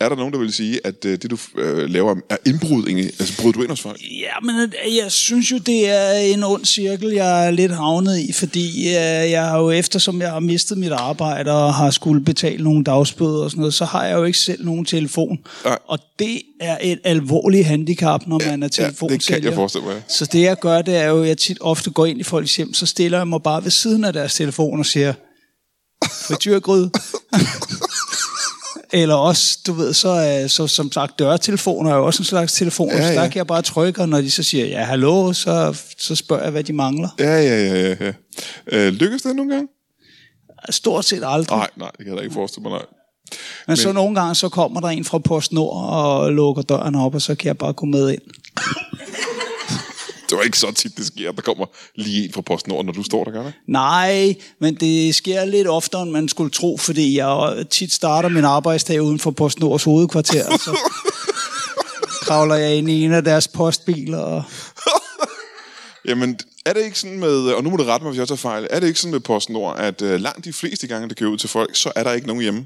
Speaker 2: er der nogen, der vil sige, at øh, det du øh, laver er indbrud egentlig? Altså bryder du ind hos folk?
Speaker 4: Ja, men øh, jeg synes jo, det er en ond cirkel, jeg er lidt havnet i, fordi øh, jeg har jo eftersom jeg har mistet mit arbejde og har skulle betale nogle dagsbøder og sådan noget, så har jeg jo ikke selv nogen telefon.
Speaker 2: Nej.
Speaker 4: Og det er et alvorligt handicap, når man er
Speaker 2: ja, det kan jeg
Speaker 4: telefonsælger.
Speaker 2: forestille mig.
Speaker 4: Så det jeg gør, det er jo, at jeg tit ofte går ind i folks hjem, så stiller jeg mig bare ved siden af deres telefon og siger, frityrgryde. Eller også, du ved, så, øh, så som sagt, dørtelefoner er jo også en slags telefon, ja,
Speaker 2: Ja,
Speaker 4: ja. så
Speaker 2: ja.
Speaker 4: der kan jeg bare trykke, og når de så siger, ja, hallo, så, så spørger jeg, hvad de mangler.
Speaker 2: Ja, ja, ja, ja. ja. Øh, lykkes det nogle gange?
Speaker 4: Stort set aldrig.
Speaker 2: Nej, nej, det kan jeg da ikke forestille mig, nej.
Speaker 4: men, men så nogle gange, så kommer der en fra PostNord og lukker døren op, og så kan jeg bare gå med ind.
Speaker 2: Det var ikke så tit, det sker. Der kommer lige en fra PostNord, når du står der, gør det?
Speaker 4: Nej, men det sker lidt oftere, end man skulle tro, fordi jeg tit starter min arbejdsdag uden for PostNords hovedkvarter, og så kravler jeg ind i en af deres postbiler. Og...
Speaker 2: Jamen, er det ikke sådan med, og nu må du rette mig, hvis jeg tager fejl, er det ikke sådan med PostNord, at øh, langt de fleste gange, det kører ud til folk, så er der ikke nogen hjemme?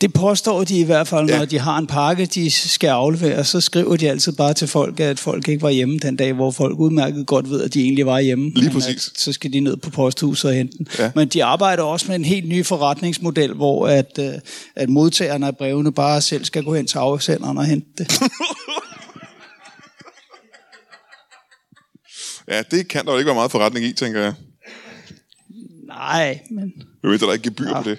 Speaker 4: Det påstår de i hvert fald, når
Speaker 2: Ja.
Speaker 4: de har en pakke, de skal aflevere, så skriver de altid bare til folk, at folk ikke var hjemme den dag, hvor folk udmærket godt ved, at de egentlig var hjemme.
Speaker 2: Lige
Speaker 4: Men
Speaker 2: præcis.
Speaker 4: At, så skal de ned på posthuset og hente den.
Speaker 2: Ja.
Speaker 4: Ja. Men de arbejder også med en helt ny forretningsmodel, hvor at, øh, at modtagerne af brevene bare selv skal gå hen til afsenderen og hente det.
Speaker 2: Ja, det kan der jo ikke være meget forretning i, tænker jeg.
Speaker 4: Nej, men
Speaker 2: Jeg ved, der er ikke gebyr ja. på det.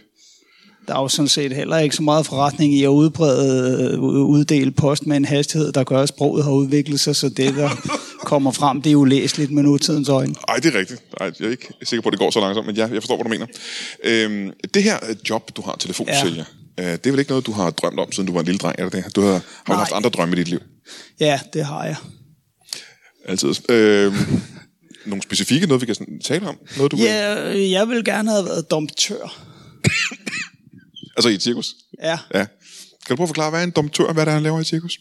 Speaker 4: der er jo sådan set heller ikke så meget forretning i at udbrede, øh, uddele post med en hastighed, der gør, at sproget har udviklet sig, så det, der kommer frem, det er ulæseligt med nutidens øjne.
Speaker 2: Ej, det er rigtigt. Ej, jeg er ikke sikker på, at det går så langsomt, men jeg, jeg forstår, hvad du mener. Øhm, det her øh, job, du har, telefonsælger, ja. øh, det er vel ikke noget, du har drømt om, siden du var en lille dreng, er det det? Du har, har jo
Speaker 4: Nej.
Speaker 2: haft andre drømme i dit liv.
Speaker 4: Ja, det har jeg.
Speaker 2: Altid. Øhm, nogle specifikke, noget vi kan sådan tale om? Noget, du vil-
Speaker 4: Ja, øh, jeg ville gerne have været domptør.
Speaker 2: Altså i et cirkus?
Speaker 4: Ja.
Speaker 2: Ja. Kan du prøve at forklare, hvad er en domtør, hvad der han laver i et cirkus?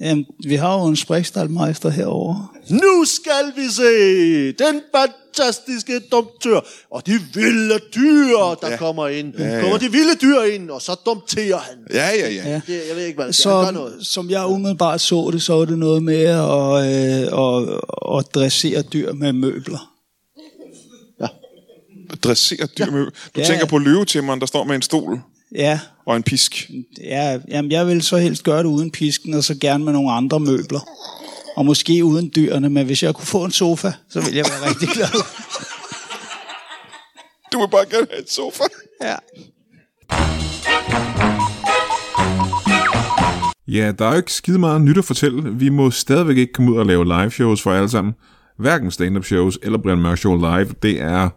Speaker 4: Jamen, vi har jo en sprekstalmeister herovre.
Speaker 3: Nu skal vi se den fantastiske domtør og de vilde dyr, der ja. kommer ind. Ja, ja. Kommer de vilde dyr ind, og så domterer han.
Speaker 2: Ja, ja, ja. ja.
Speaker 4: Ja.
Speaker 3: Det, jeg ved ikke, hvad det så... Han gør
Speaker 4: Så,
Speaker 3: noget.
Speaker 4: som jeg umiddelbart så det, så var det noget med at, øh, at, at dressere dyr med møbler.
Speaker 2: Dressere dyr med... Du ja.
Speaker 4: Ja.
Speaker 2: tænker på løvetimmeren, der står med en stol
Speaker 4: Ja,
Speaker 2: og en pisk.
Speaker 4: ja jamen, jeg ville så helst gøre det uden pisken, og så gerne med nogle andre møbler. Og måske uden dyrene, men hvis jeg kunne få en sofa, så ville jeg være rigtig glad.
Speaker 2: Du vil bare gerne have et sofa.
Speaker 4: Ja.
Speaker 1: Ja, der er jo ikke skide meget nyt at fortælle. Vi må stadigvæk ikke komme ud og lave live shows for jer alle sammen. Hverken stand-up shows eller Brian Mørk Show live. Det er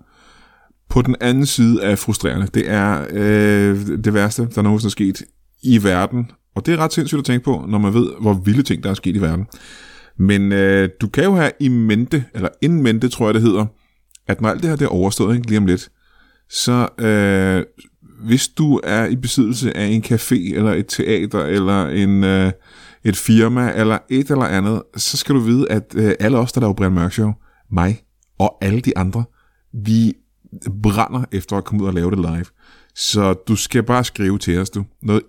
Speaker 1: på den anden side af frustrerende. Det er øh, det værste, der nogensinde er sket i verden. Og det er ret sindssygt at tænke på, når man ved, hvor vilde ting, der er sket i verden. Men øh, du kan jo have i mente, eller in mente, tror jeg det hedder, at når alt det her det er overstået ikke, lige om lidt, så øh, hvis du er i besiddelse af en café, eller et teater, eller en, øh, et firma, eller et eller andet, så skal du vide, at øh, alle os, der laver Brian Mørk Show, mig og alle de andre, vi brænder efter at komme ud og lave det live. Så du skal bare skrive til os, du. Når,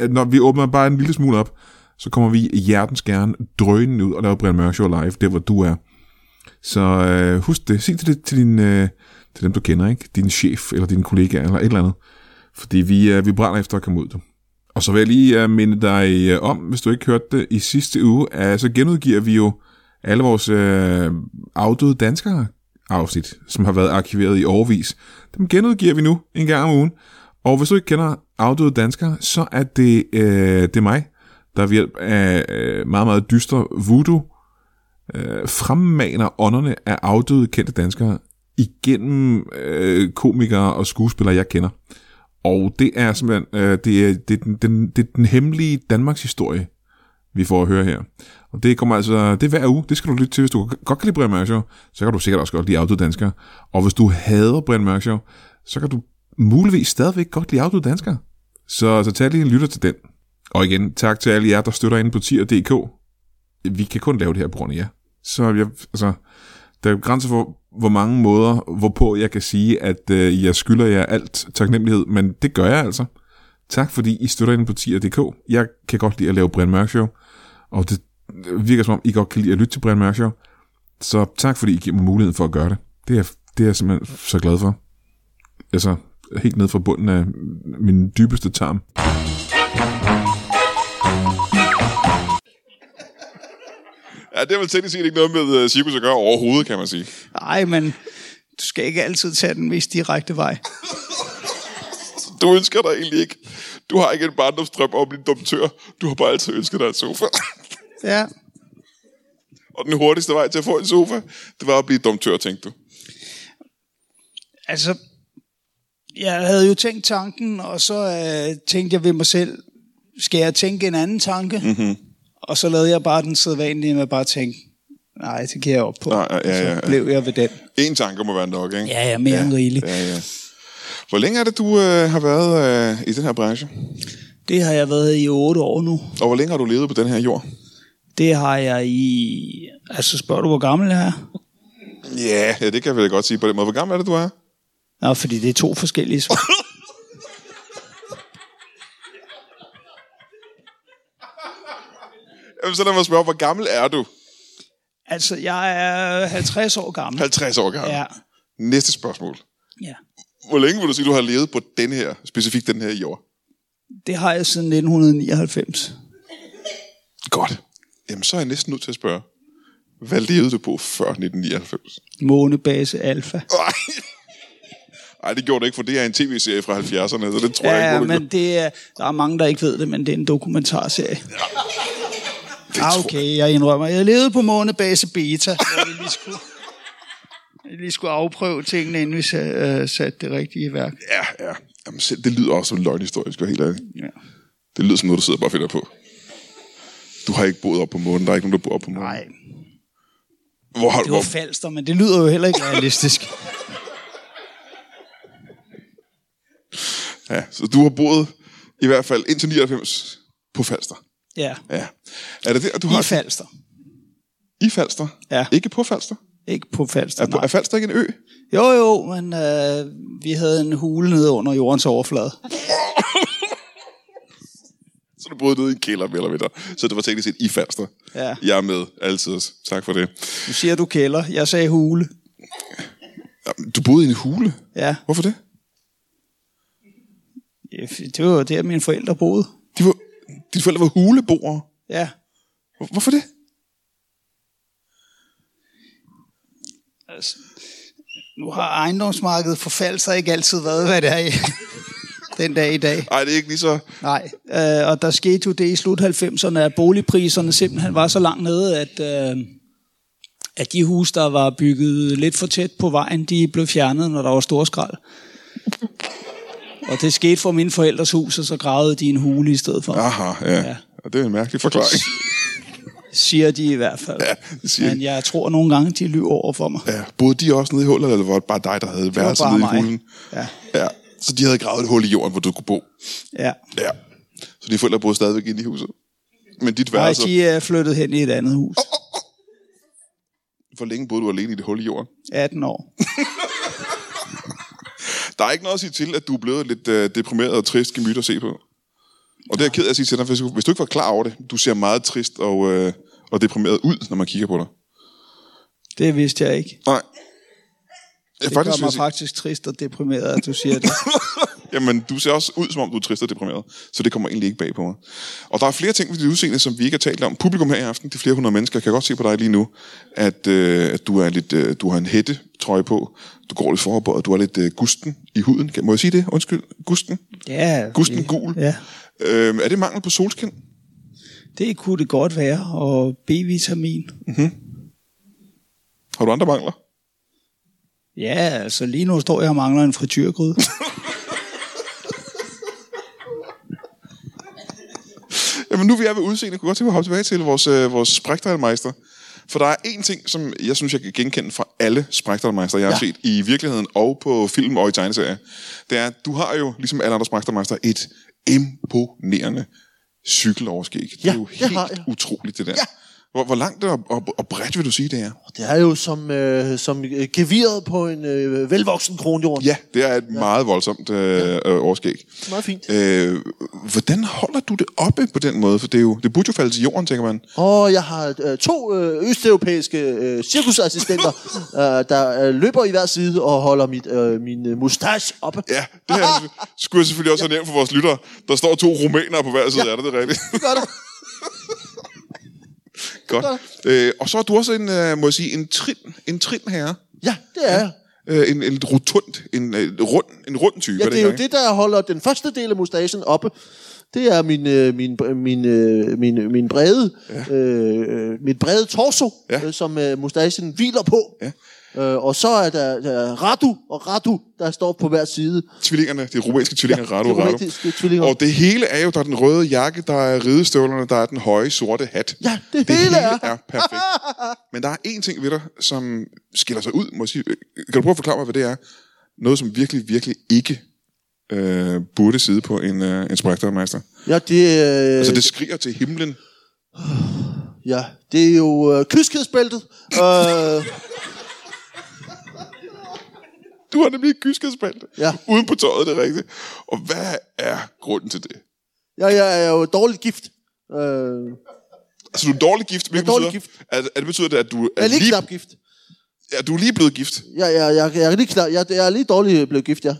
Speaker 1: øh, når vi åbner bare en lille smule op, så kommer vi hjertens gerne drønende ud og laver Brian Mørk Show live, der hvor du er. Så øh, husk det. Sig til, det, til, din, øh, til dem, du kender, ikke? Din chef, eller din kollega, eller et eller andet. Fordi vi, øh, vi brænder efter at komme ud. Du. Og så vil jeg lige øh, minde dig øh, om, hvis du ikke hørte det i sidste uge, øh, så genudgiver vi jo alle vores øh, afdøde danskere afsnit, som har været arkiveret i overvis. Dem genudgiver vi nu en gang om ugen. Og hvis du ikke kender afdøde danskere, så er det, øh, det er mig, der ved hjælp af øh, meget, meget dyster voodoo øh, fremmaner ånderne af afdøde kendte danskere igennem øh, komikere og skuespillere, jeg kender. Og det er simpelthen øh, det er, det er den, den, det er den hemmelige Danmarks historie, vi får at høre her. Og det kommer altså, det er hver uge, det skal du lytte til, hvis du godt kan lide Brian Mørk Show, så kan du sikkert også godt lide Afdøde Danskere. Og hvis du hader Brian Mørk Show, så kan du muligvis stadigvæk godt lide Afdøde Danskere. Så, så tag lige en lytter til den. Og igen, tak til alle jer, der støtter inde på tier.dk. Vi kan kun lave det her på grund af jer. Så jeg, altså, der er grænser for, hvor mange måder, hvorpå jeg kan sige, at øh, jeg skylder jer alt taknemmelighed, men det gør jeg altså. Tak fordi I støtter ind på tier.dk. Jeg kan godt lide at lave Brian Mørk Show, og det øh, virker som om, I godt kan lide at lytte til Brian Mørk Show. Så tak fordi I giver mig muligheden for at gøre det. Det er, det er jeg simpelthen så glad for. Altså, helt ned fra bunden af min dybeste tarm.
Speaker 2: Ja, det er vel teknisk set ikke noget med øh, cirkus at gøre overhovedet, kan man sige.
Speaker 4: Nej, men du skal ikke altid tage den mest direkte vej.
Speaker 2: Du ønsker dig egentlig ikke. Du har ikke en barndomstrøm om din domtør. Du har bare altid ønsket dig en sofa.
Speaker 4: Ja.
Speaker 2: Og den hurtigste vej til at få en sofa, det var at blive domtør, tænkte du.
Speaker 4: Altså, jeg havde jo tænkt tanken, og så øh, tænkte jeg ved mig selv, skal jeg tænke en anden tanke?
Speaker 2: Mhm.
Speaker 4: Mm-hmm. Og så lavede jeg bare den sædvanlige med bare at tænke, nej, det kan jeg op på.
Speaker 2: Nej, ja, ja, ja.
Speaker 4: Så blev jeg ved den.
Speaker 2: En tanke må være nok, ikke?
Speaker 4: Ja, ja, mere ja, end rigeligt. Ja.
Speaker 2: Ja, ja. Hvor længe er det, du øh, har været øh, i den her branche?
Speaker 4: Det har jeg været i otte år nu.
Speaker 2: Og hvor længe har du levet på den her jord?
Speaker 4: Det har jeg i... Altså, spørger du, hvor gammel jeg er?
Speaker 2: Ja, ja det kan jeg vel godt sige på den måde. Hvor gammel er det, du er?
Speaker 4: Nå, fordi det er to forskellige svar.
Speaker 2: Jamen, så lad mig spørge, hvor gammel er du?
Speaker 4: altså, jeg er 50 år gammel.
Speaker 2: 50 år gammel.
Speaker 4: Ja,
Speaker 2: Næste spørgsmål.
Speaker 4: ja.
Speaker 2: Hvor længe vil du sige, du har levet på den her, specifikt den her jord?
Speaker 4: Det har jeg siden 1999.
Speaker 2: Godt. Jamen, så er jeg næsten nødt til at spørge. Hvad levede du på før 1999?
Speaker 4: Månebase Alfa.
Speaker 2: Nej. Ej, det gjorde du ikke, for det er en tv-serie fra 70'erne, så det tror jeg
Speaker 4: Ja,
Speaker 2: ikke, hvor du
Speaker 4: men det er, der er mange, der ikke ved det, men det er en dokumentarserie.
Speaker 2: gjorde. Det
Speaker 4: Ah,
Speaker 2: tror jeg.
Speaker 4: okay, jeg indrømmer. Jeg levede på månebase beta, hvor vi lige skulle, vi lige skulle afprøve tingene, inden vi sa- øh, satte det rigtige i værk.
Speaker 2: Ja, ja. Jamen, selv, det lyder også som en løgnhistorie, skal jeg være helt ærlig.
Speaker 4: Ja.
Speaker 2: Det lyder som noget, du sidder og bare finder på. Du har ikke boet op på månen. Der er ikke nogen, der bor op på månen.
Speaker 4: Nej.
Speaker 2: Hvor, har-
Speaker 4: Det var
Speaker 2: hvor,
Speaker 4: falster, men det lyder jo heller ikke realistisk.
Speaker 2: ja, så du har boet i hvert fald indtil 99 på Falster.
Speaker 4: Ja,
Speaker 2: Ja. Er det der, du har...
Speaker 4: i falster.
Speaker 2: I Falster?
Speaker 4: Ja.
Speaker 2: Ikke på Falster?
Speaker 4: Ikke på falster,
Speaker 2: Er, på,
Speaker 4: nej.
Speaker 2: er Falster ikke en ø?
Speaker 4: Jo, jo, men øh, vi havde en hule nede under jordens overflade.
Speaker 2: Så du boede nede i en kælder, mere eller mindre. Så det var teknisk set i Falster.
Speaker 4: Ja.
Speaker 2: Jeg er med altid. Tak for det.
Speaker 4: Nu siger du kælder, jeg sagde hule.
Speaker 2: Jamen, Du boede i en hule?
Speaker 4: Ja,
Speaker 2: Hvorfor det?
Speaker 4: det var jo der, mine forældre boede.
Speaker 2: De var, dine forældre var huleboere.
Speaker 4: Ja,
Speaker 2: Hvor- Hvorfor det?
Speaker 4: altså, nu har ejendomsmarkedet for falster ikke altid været, hvad det er i- den dag i dag.
Speaker 2: Nej, det er ikke lige så...
Speaker 4: Nej, øh, og der skete jo det i slut 90'erne, at boligpriserne simpelthen var så langt nede, at, øh, at de huse, der var bygget lidt for tæt på vejen, de blev fjernet, når der var stor skrald. Og det skete for mine forældres hus, og så gravede de en hule i stedet for, ja.
Speaker 2: Aha, ja. ja.
Speaker 4: Ja.
Speaker 2: Og det er en mærkelig forklaring.
Speaker 4: siger de i hvert fald.
Speaker 2: Ja, det siger
Speaker 4: Men
Speaker 2: de.
Speaker 4: jeg tror nogle gange, de lyver over for mig.
Speaker 2: Ja, boede de også nede i hullet, eller var det bare dig, der havde
Speaker 4: Det var
Speaker 2: værelset
Speaker 4: bare
Speaker 2: nede i
Speaker 4: mig.
Speaker 2: hulen?
Speaker 4: Ja,
Speaker 2: Ja. Så de havde gravet et hul i jorden, hvor du kunne bo.
Speaker 4: ja.
Speaker 2: Ja. Så dine forældre boede stadigvæk inde i huset. Men dit
Speaker 4: Nej,
Speaker 2: værelse...
Speaker 4: de er flyttet hen i et andet hus.
Speaker 2: Hvor længe boede du alene i det hul i jorden?
Speaker 4: 18 år.
Speaker 2: Der er ikke noget at sige til, at du er blevet lidt øh, deprimeret og trist gemyt at se på. Og det er jeg ked af at sige til dig, hvis du, hvis du ikke var klar over det. Du ser meget trist og, øh, og deprimeret ud, når man kigger på dig.
Speaker 4: Det vidste jeg ikke.
Speaker 2: Nej. Jeg
Speaker 4: Det gør
Speaker 2: vil
Speaker 4: mig
Speaker 2: jeg sige-
Speaker 4: faktisk trist og deprimeret, at du siger det.
Speaker 2: Jamen, du ser også ud, som om du er trist og deprimeret. Så det kommer egentlig ikke bag på mig. Og der er flere ting ved dit udseende, som vi ikke har talt om. Publikum her i aften, de flere hundrede mennesker, kan godt se på dig lige nu, at, øh, at du, er lidt, øh, du har en hætte trøje på. Du går lidt forberedt. Du er lidt øh, gusten i huden. Kan- Må jeg sige det? Undskyld. Gusten?
Speaker 4: Ja,
Speaker 2: Gusten
Speaker 4: det-
Speaker 2: gul?
Speaker 4: Ja,
Speaker 2: Øh, er det mangel på solskin?
Speaker 4: det kunne det godt være. Og B-vitamin.
Speaker 2: Har du andre mangler?
Speaker 4: Ja, altså lige nu står jeg og mangler en frityrgryde.
Speaker 2: Jamen nu vi er ved udseende, kunne jeg godt tænke mig at hoppe tilbage til vores, øh, vores sprægtermeister. For der er én ting, som jeg synes, jeg kan genkende fra alle sprægtermeister, jeg har ja. set i virkeligheden og på film og i tegneserier. Det er, at du har jo, ligesom alle andre sprægtermeister, et imponerende cykeloverskæg. Det
Speaker 3: Ja,
Speaker 2: er jo
Speaker 3: det
Speaker 2: helt
Speaker 3: har jeg.
Speaker 2: utroligt, det der. Ja. Hvor, hvor langt og, og, og bredt vil du sige, det er?
Speaker 3: Det er jo som, øh, som øh, geviret på en øh, velvoksen kronjord.
Speaker 2: Ja, det er et ja. meget voldsomt øh, øh, overskæg.
Speaker 3: Meget fint.
Speaker 2: Øh, hvordan holder du det oppe på den måde? For det, er jo, det burde jo falde til jorden, tænker man.
Speaker 3: Og jeg har øh, to øh, østeuropæiske øh, cirkusassistenter, øh, der øh, løber i hver side og holder mit, øh, min øh, mustache oppe.
Speaker 2: Ja, det her skulle jeg selvfølgelig også have nævnt for vores lyttere. Der står to rumænere på hver side ja. af det, det er rigtigt.
Speaker 3: Det gør der.
Speaker 2: Godt. Øh, og så er du også en, øh, må jeg sige, en trin, en trin herre.
Speaker 3: Ja, det er jeg.
Speaker 2: Øh, en, en rotund, en, øh, rund, en rund type.
Speaker 3: Ja, det er jo
Speaker 2: ikke?
Speaker 3: det, der holder den første del af mustachen oppe. Det er min, øh, min, min, øh, min, min brede, ja. øh, øh, mit brede torso,
Speaker 2: Ja.
Speaker 3: ja. øh, som øh, mustachen hviler på. Ja. Øh, og så er der, der Radu og Radu, der står på hver side.
Speaker 2: Tvillingerne, de rumænske tvillinger, ja,
Speaker 3: Ja,
Speaker 2: Rado
Speaker 3: de
Speaker 2: og Rado.
Speaker 3: rumænske tvillinger.
Speaker 2: Og det hele er jo, der er den røde jakke, der er ridestøvlerne, der er den høje sorte hat.
Speaker 3: Ja, det, det hele er.
Speaker 2: er perfekt. Men der er én ting ved dig, som skiller sig ud, må jeg sige. Kan du prøve at forklare mig, hvad det er? Noget, som virkelig, virkelig ikke øh, burde sidde på en, øh, en sprægtermeister.
Speaker 3: Ja, det, øh,
Speaker 2: Altså, det skriger til himlen.
Speaker 3: ja, det er jo øh, kyskhedsbæltet. øh,
Speaker 2: Du har nemlig et kyskhedsbælte.
Speaker 3: Ja.
Speaker 2: Uden på tøjet, det er rigtigt. Og hvad er grunden til det?
Speaker 3: ja, jeg er jo dårligt gift. Øh,
Speaker 2: Altså, du er dårlig gift, hvilket
Speaker 3: dårlig
Speaker 2: betyder, At, at det betyder det, at du
Speaker 3: jeg
Speaker 2: er,
Speaker 3: er lige
Speaker 2: lige,
Speaker 3: knap gift.
Speaker 2: at du er lige blevet gift.
Speaker 3: Ja, ja, jeg, jeg, er lige knap, jeg, jeg er lige dårligt blevet gift, ja.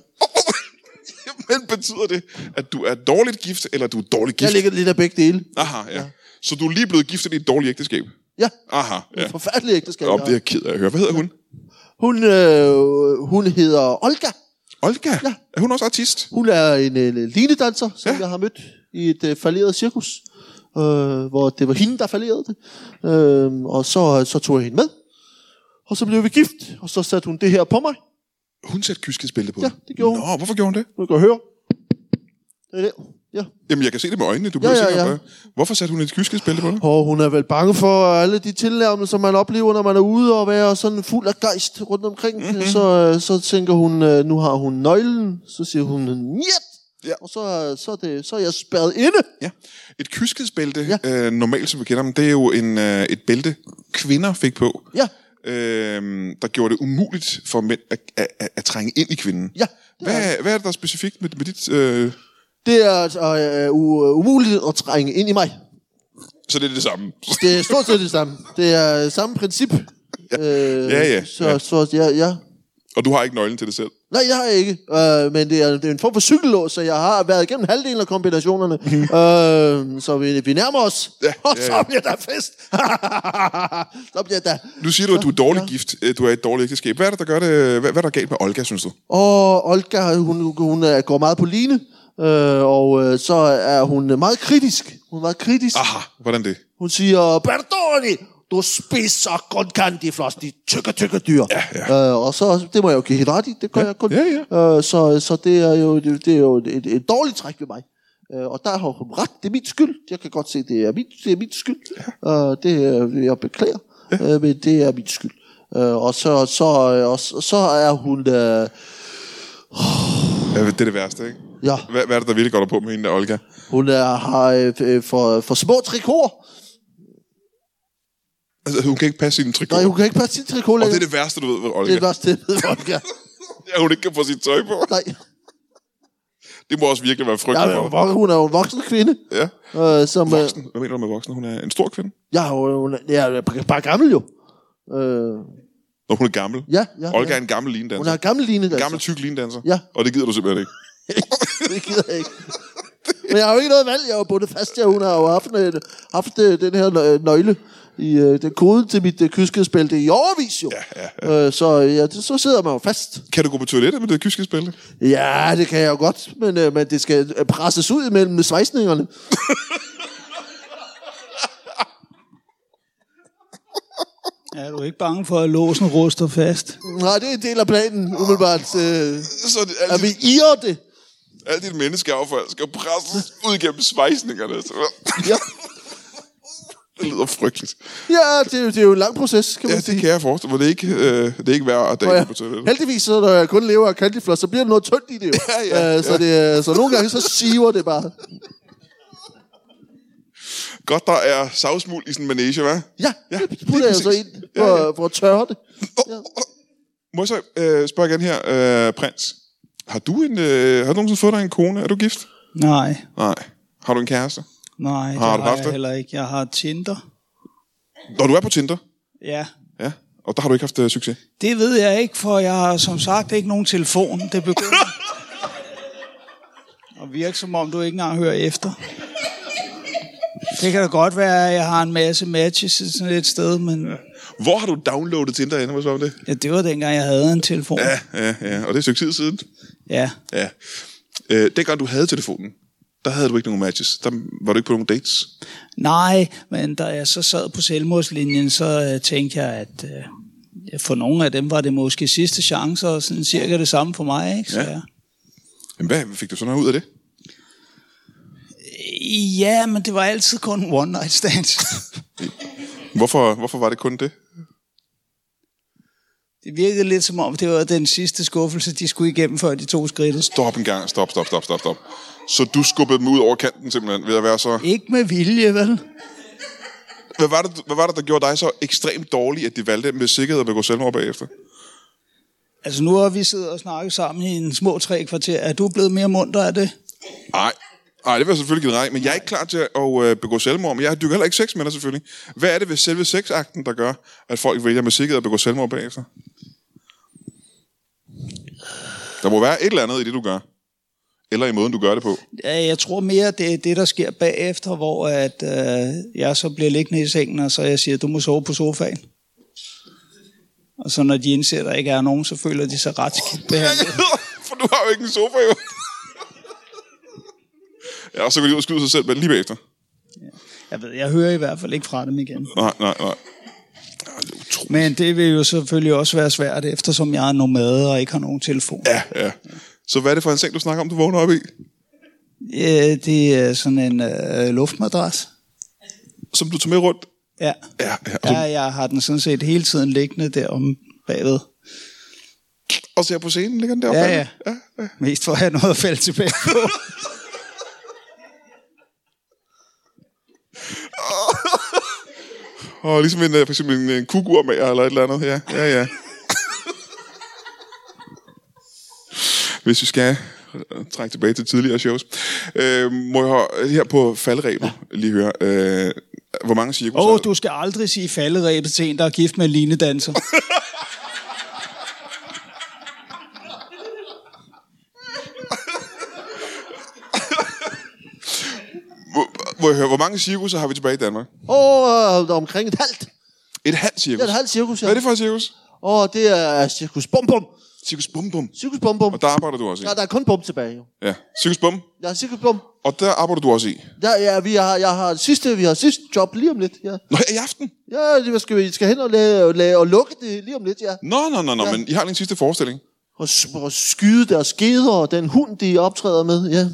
Speaker 2: Men betyder det, at du er dårligt gift, eller du er dårligt
Speaker 3: Jeg
Speaker 2: gift?
Speaker 3: ligger lidt af begge dele.
Speaker 2: Aha, ja. Så du er lige blevet gift i et dårligt ægteskab?
Speaker 3: Ja,
Speaker 2: Aha, ja.
Speaker 3: forfærdelig ægteskab.
Speaker 2: Nå,
Speaker 3: jeg
Speaker 2: det er jeg ked af at høre. Hvad hedder hun?
Speaker 3: Hun, øh, hun hedder Olga.
Speaker 2: Olga? Ja. Er hun også artist?
Speaker 3: Hun er en øh, linedanser, som
Speaker 2: Ja.
Speaker 3: ja. jeg har mødt i et øh, falderet cirkus, øh, hvor det var hende, der falderede det. Øh, og så, så tog jeg hende med, og så blev vi gift, og så satte hun det her på mig.
Speaker 2: Hun satte kyskhedsbælte på.
Speaker 3: Ja, det gjorde hun.
Speaker 2: Nå, hvorfor gjorde hun det?
Speaker 3: Nu kan jeg høre. Det er det. Ja.
Speaker 2: Jamen, jeg kan se det med øjnene. Du bliver
Speaker 3: Ja, ja,
Speaker 2: sikker
Speaker 3: ja.
Speaker 2: på- Hvorfor satte hun et kyskespælte på dig?
Speaker 3: Og hun er vel bange for alle de tilnærmelser, man oplever, når man er ude og være sådan fuld af gejst rundt omkring.
Speaker 2: Mhm.
Speaker 3: Mm-hmm. Så, øh, så tænker hun, øh, nu har hun nøglen. Så siger hun, njet!
Speaker 2: Ja.
Speaker 3: Og så, øh, så, er det, så er jeg spærret inde.
Speaker 2: Ja. Et kyskhedsbælte, ja. øh, normalt som vi kender dem, det er jo en, øh, et bælte, kvinder fik på,
Speaker 3: Ja.
Speaker 2: øh, der gjorde det umuligt for mænd at, at, at, at trænge ind i kvinden.
Speaker 3: Ja, det er
Speaker 2: Hvad, hvad er det, der er specifikt med, med dit... Øh,
Speaker 3: Det er øh, u- umuligt at trænge ind i mig.
Speaker 2: så det er det samme.
Speaker 3: Det er stort set det samme. Det er samme princip. Øh,
Speaker 2: Ja, ja,
Speaker 3: Så,
Speaker 2: ja.
Speaker 3: så ja, ja.
Speaker 2: Og du har ikke nøglen til det selv.
Speaker 3: Nej, jeg har ikke. Øh, men det er, det er en form for cykellås, så jeg har været igennem halvdelen af kombinationerne. øh, så vi, vi nærmer os.
Speaker 2: Mhm. Ja,
Speaker 3: og
Speaker 2: ja,
Speaker 3: så
Speaker 2: ja.
Speaker 3: bliver der fest. så bliver der...
Speaker 2: Nu siger du, at du er dårlig ja. gift. øh, Du er i et dårligt ægteskab. Hvad er det, der gør det? Hvad, hvad er der galt med Olga, synes du?
Speaker 3: Og Olga, hun, hun øh, går meget på line. Øh, og øh, så er hun meget kritisk. Hun er meget kritisk.
Speaker 2: Aha, hvordan det?
Speaker 3: Hun siger, perdoni, du spiser kun candyfloss, de tykke, tykke dyr. Ja, ja. Øh, og så, det må jeg jo give hende ret i, det gør ja, jeg kun.
Speaker 2: ja,
Speaker 3: Øh, så, så det er jo, det, det er jo et, et dårligt træk ved mig. Øh, og der har hun ret, det er min skyld. Jeg kan godt se, det er min, det er min skyld. Øh, det er, jeg beklager, ja. øh, men det er min skyld. Øh, og, så, så, og så, så er hun... Øh,
Speaker 2: Ja, Det er det værste, ikke?
Speaker 3: ja,
Speaker 2: Hvad, hvad er det, der virkelig går der på med hende der, Olga?
Speaker 3: hun er, har øh, øh, for, for små trikoter.
Speaker 2: Altså, hun kan ikke passe sine
Speaker 3: Nej,
Speaker 2: trikoter.
Speaker 3: hun kan ikke passe sin trikot
Speaker 2: Og det
Speaker 3: længere.
Speaker 2: er det værste, du ved ved Olga.
Speaker 3: det er værst det, ved Olga.
Speaker 2: Ja, hun ikke kan få sit tøj på.
Speaker 3: Nej.
Speaker 2: Det må også virkelig være
Speaker 3: Ja,
Speaker 2: frygteligt.
Speaker 3: men
Speaker 2: for hende.
Speaker 3: hun er jo en voksen kvinde.
Speaker 2: Ja.
Speaker 3: Øh, som, øh,
Speaker 2: Voksen. Hvad mener du med voksen? Hun er en stor kvinde.
Speaker 3: ja, hun, hun er- ja, er bare gammel jo. Øh,
Speaker 2: Når hun er gammel.
Speaker 3: ja, ja.
Speaker 2: Olga
Speaker 3: ja.
Speaker 2: er en gammel
Speaker 3: Hun
Speaker 2: linedanser.
Speaker 3: har gammel lignende.
Speaker 2: Gammel tyk linedanser.
Speaker 3: Ja.
Speaker 2: Og det gider du simpelthen ikke.
Speaker 3: Altså. Det gider jeg ikke. Men jeg har jo ikke noget valg. Jeg er jo bundet fast. Jeg, hun har jo haft, øh, haft øh, den her nø- øh, nøgle i øh, den kode til mit øh, kyskespil. Det er i overvis jo. Ja, ja, ja. Øh, så, ja, det, så sidder man jo fast.
Speaker 2: Kan du gå på toilettet med det kyskespil?
Speaker 3: Ja, det kan jeg jo godt, men, øh, men det skal øh, presses ud mellem svejsningerne.
Speaker 4: Er du ikke bange for, at låsen ruster fast?
Speaker 3: Nej, det er en del af planen, umiddelbart. Øh,
Speaker 2: Så det,
Speaker 3: at
Speaker 2: alt,
Speaker 3: vi
Speaker 2: dit,
Speaker 3: irer det.
Speaker 2: alt dit menneskeaffald skal presses ud gennem svejsningerne. Så.
Speaker 3: Ja.
Speaker 2: Det lyder frygteligt.
Speaker 3: Ja, det er, jo, det er jo en lang proces, kan man
Speaker 2: Ja,
Speaker 3: sige.
Speaker 2: det kan jeg forestille mig. Det er ikke, øh, det er ikke hver dag
Speaker 3: Og
Speaker 2: ja.
Speaker 3: jeg,
Speaker 2: på toilettet.
Speaker 3: heldigvis, så når jeg kun lever af candyfloss, så bliver der noget tyndt i det jo.
Speaker 2: Ja, ja,
Speaker 3: Øh, så, det, øh, så nogle gange, så siver det bare.
Speaker 2: Godt, der er savsmuld i sådan en manege, hva'?
Speaker 3: Ja,
Speaker 2: Ja,
Speaker 3: ja
Speaker 2: lige
Speaker 3: det putter jeg så
Speaker 2: præcis.
Speaker 3: ind for, ja, ja. for at tørre det. Ja.
Speaker 2: Må jeg så øh, spørge igen her, øh, prins? Har du, en, øh, har du nogensinde fået dig en kone? Er du gift?
Speaker 4: Nej,
Speaker 2: Nej. Har du en kæreste?
Speaker 4: nej, det
Speaker 2: Har
Speaker 4: har,
Speaker 2: du haft
Speaker 4: har jeg
Speaker 2: det?
Speaker 4: heller ikke. Jeg har Tinder.
Speaker 2: Når du er på Tinder,
Speaker 4: Ja,
Speaker 2: ja, og der har du ikke haft øh, succes.
Speaker 4: det ved jeg ikke, for jeg har som sagt ikke nogen telefon. Det begynder at virke, som om du ikke engang hører efter. Det kan da godt være, at jeg har en masse matches sådan et sted, men
Speaker 2: Hvor har du downloadet Tinder henne? Må jeg spørge om det?
Speaker 4: ja, det var dengang, jeg havde en telefon.
Speaker 2: Ja, ja, ja. Og det er et stykke tid siden.
Speaker 4: Ja,
Speaker 2: Ja. Øh, dengang du havde telefonen, der havde du ikke nogen matches. Der var du ikke på nogen dates.
Speaker 4: Nej, men da jeg så sad på selvmordslinjen, så øh, tænkte jeg, at øh, ja, for nogle af dem var det måske sidste chance, og sådan cirka det samme for mig. Ikke? Så,
Speaker 2: Ja.
Speaker 4: ja.
Speaker 2: Jamen, hvad fik du så noget ud af det?
Speaker 4: Øh, ja, men det var altid kun one night stands.
Speaker 2: Hvorfor, hvorfor var det kun det?
Speaker 4: det virkede lidt som om, det var den sidste skuffelse, de skulle igennem, før de tog skridtet.
Speaker 2: Stop en gang. Stop, stop, stop, stop, stop. Så du skubbede dem ud over kanten simpelthen ved at være så...
Speaker 4: Ikke med vilje, vel?
Speaker 2: Hvad var, det, hvad var det, der gjorde dig så ekstremt dårlig, at de valgte med sikkerhed at begå selvmord bagefter?
Speaker 4: Altså nu har vi siddet og snakket sammen i en små tre kvarter. Er du blevet mere munter af det?
Speaker 2: Nej. Nej, det var selvfølgelig ikke nej, men jeg er ikke klar til at øh, begå selvmord, men jeg dykker heller ikke sex med dig selvfølgelig. Hvad er det ved selve sexakten, der gør, at folk vælger med sikkerhed at begå selvmord bagefter? Der må være et eller andet i det, du gør. Eller i måden, du gør det på.
Speaker 4: Ja, jeg tror mere, det er det, der sker bagefter, hvor at, øh, jeg så bliver liggende i sengen, og så jeg siger, du må sove på sofaen. Og så når de indser, at der ikke er nogen, så føler de sig ret skidt behandlet.
Speaker 2: For du har jo ikke en sofa, jo. ja, og så går de ud og skyder sig selv med det lige bagefter.
Speaker 4: Jeg, ved, jeg hører i hvert fald ikke fra dem igen.
Speaker 2: Nej, nej, nej. Ja, det er utroligt.
Speaker 4: Men det vil jo selvfølgelig også være svært, eftersom jeg er nomade og ikke har nogen telefon.
Speaker 2: Ja, ja. Så hvad er det for en seng, du snakker om, du vågner op i?
Speaker 4: Øh, det er sådan en øh, luftmadras.
Speaker 2: Som du tog med rundt?
Speaker 4: Ja.
Speaker 2: Ja, ja.
Speaker 4: ja, jeg har den sådan set hele tiden liggende derom bagved.
Speaker 2: Og så her på scenen ligger den deroppe.
Speaker 4: Ja, ja. Mest for at have noget at falde tilbage på.
Speaker 2: Og ligesom en, øh, for eksempel en, en kugurmager eller et eller andet. Ja, ja, ja. Hvis vi skal øh, trække tilbage til tidligere shows. Øh, må jeg høre- her på faldrebet ja. lige høre, øh, hvor mange cirkus
Speaker 4: Åh, oh, du skal aldrig sige falderæbet til en, der er gift med en linedanser.
Speaker 2: hvor, hvor, jeg høre, hvor mange cirkuser har vi tilbage i Danmark?
Speaker 3: Og øh, omkring et halvt.
Speaker 2: Et halvt cirkus.
Speaker 3: Ja, et halvt cirkus, ja.
Speaker 2: Hvad er det for et cirkus?
Speaker 3: Og det er cirkus Bum Bum.
Speaker 2: Cirkus Bum Bum.
Speaker 3: Cirkus Bum Bum.
Speaker 2: Og der arbejder du også i?
Speaker 3: Ja, der er kun Bum tilbage, jo.
Speaker 2: Ja. Cirkus Bum.
Speaker 3: Der er cirkus Bum.
Speaker 2: Og der arbejder du også i?
Speaker 3: Ja, ja, vi har, jeg har sidste, vi har sidste job lige om lidt, ja.
Speaker 2: Nå, i aften?
Speaker 3: Ja, det skal, vi skal hen og, lave, lave, og lukke det lige om lidt, ja.
Speaker 2: Nå, nå, nå, nå, men I har lige en sidste forestilling.
Speaker 3: Og, s- og skyde deres skeder og den hund, de optræder med, ja.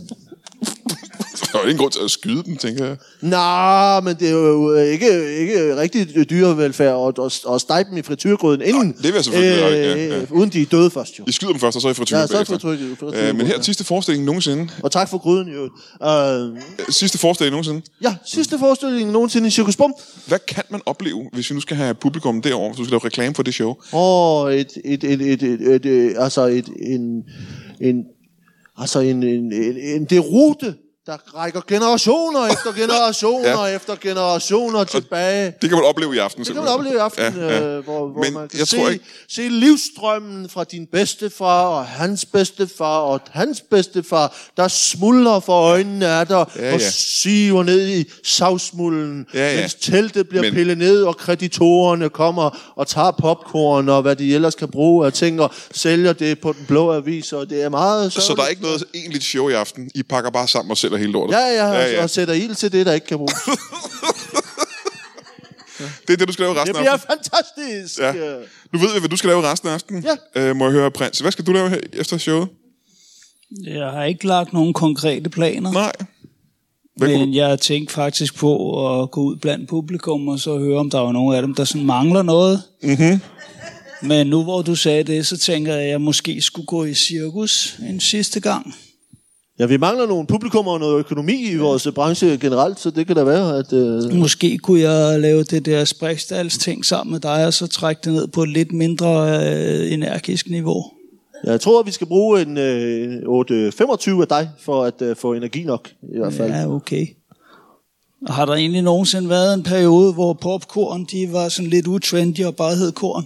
Speaker 2: Der er jo ingen grund til at skyde dem, tænker jeg.
Speaker 3: Nå, men det er jo øh, ikke, ikke rigtig dyrevelfærd at, at, at stege dem i frityrgryden inden. øh,
Speaker 2: det vil jeg selvfølgelig gøre, ja, ja.
Speaker 3: Uden de er døde først, jo.
Speaker 2: I skyder dem først, og så er I frityrer
Speaker 3: Ja, så er I
Speaker 2: bagefter.
Speaker 3: frityrer-
Speaker 2: Øh,
Speaker 3: frityrer
Speaker 2: men her
Speaker 3: bagefter.
Speaker 2: sidste forestilling nogensinde.
Speaker 3: Og tak for gryden, jo. Øh,
Speaker 2: Øh, Sidste forestilling nogensinde.
Speaker 3: ja, sidste forestilling nogensinde i Cirkus Bum.
Speaker 2: Hvad kan man opleve, hvis vi nu skal have publikum derovre, hvis du skal lave reklame for det show?
Speaker 3: Og et, et, et, et, et, et, et altså et, en, en, altså en, en, en, en derute, der rækker generationer efter generationer ja. efter generationer tilbage.
Speaker 2: Det kan man opleve i aften.
Speaker 3: Det kan man opleve i aften, ja, ja. Øh, hvor, hvor
Speaker 2: Men
Speaker 3: man kan
Speaker 2: jeg
Speaker 3: se,
Speaker 2: tror ikke-
Speaker 3: se livstrømmen fra din bedstefar og hans bedstefar og hans bedstefar, der smuldrer for øjnene af dig ja,
Speaker 2: Ja,
Speaker 3: og
Speaker 2: ja.
Speaker 3: siver ned i savsmulden,
Speaker 2: Ja, ja.
Speaker 3: mens teltet bliver Men...
Speaker 2: Men-
Speaker 3: pillet ned, og kreditorerne kommer og tager popcorn og hvad de ellers kan bruge af ting, og sælger det på den blå avis, og det er meget
Speaker 2: Så
Speaker 3: sørgeligt.
Speaker 2: der er ikke noget egentligt show i aften. I pakker bare sammen og sælger hele lortet.
Speaker 3: Ja, altså- ja, ja, ja,
Speaker 2: ja.
Speaker 3: og sætter ild til det, der ikke kan bruges.
Speaker 2: Det er det, du skal lave
Speaker 3: Det
Speaker 2: resten af
Speaker 3: bliver
Speaker 2: aftenen.
Speaker 3: fantastisk! øh.
Speaker 2: Ja. Nu ved vi, hvad du skal lave resten af aftenen.
Speaker 3: Ja.
Speaker 2: Øh, må jeg høre, Prins, hvad skal du lave her efter showet?
Speaker 4: Jeg har ikke lagt nogen konkrete planer.
Speaker 2: Nej. Hvad kunne
Speaker 4: Men jeg tænkte faktisk på at gå ud blandt publikum og så høre, om der var nogen af dem, der sådan mangler noget.
Speaker 2: Mhm.
Speaker 4: Mm-hmm. Men nu hvor du sagde det, så tænker jeg, at jeg måske skulle gå i cirkus en sidste gang.
Speaker 3: Ja, vi mangler nogle publikummer og noget økonomi i vores branche generelt, så det kan da være, at... Øh...
Speaker 4: Måske kunne jeg lave det der Springsdals ting sammen med dig, og så trække det ned på et lidt mindre øh, energisk niveau.
Speaker 3: Jeg tror, at vi skal bruge en øh, 8-25 af dig, for at øh, få energi nok, i hvert fald. Ja.
Speaker 4: Ja, okay. Og Har der egentlig nogensinde været en periode, hvor popcorn de var sådan lidt utrendy og bare hed korn?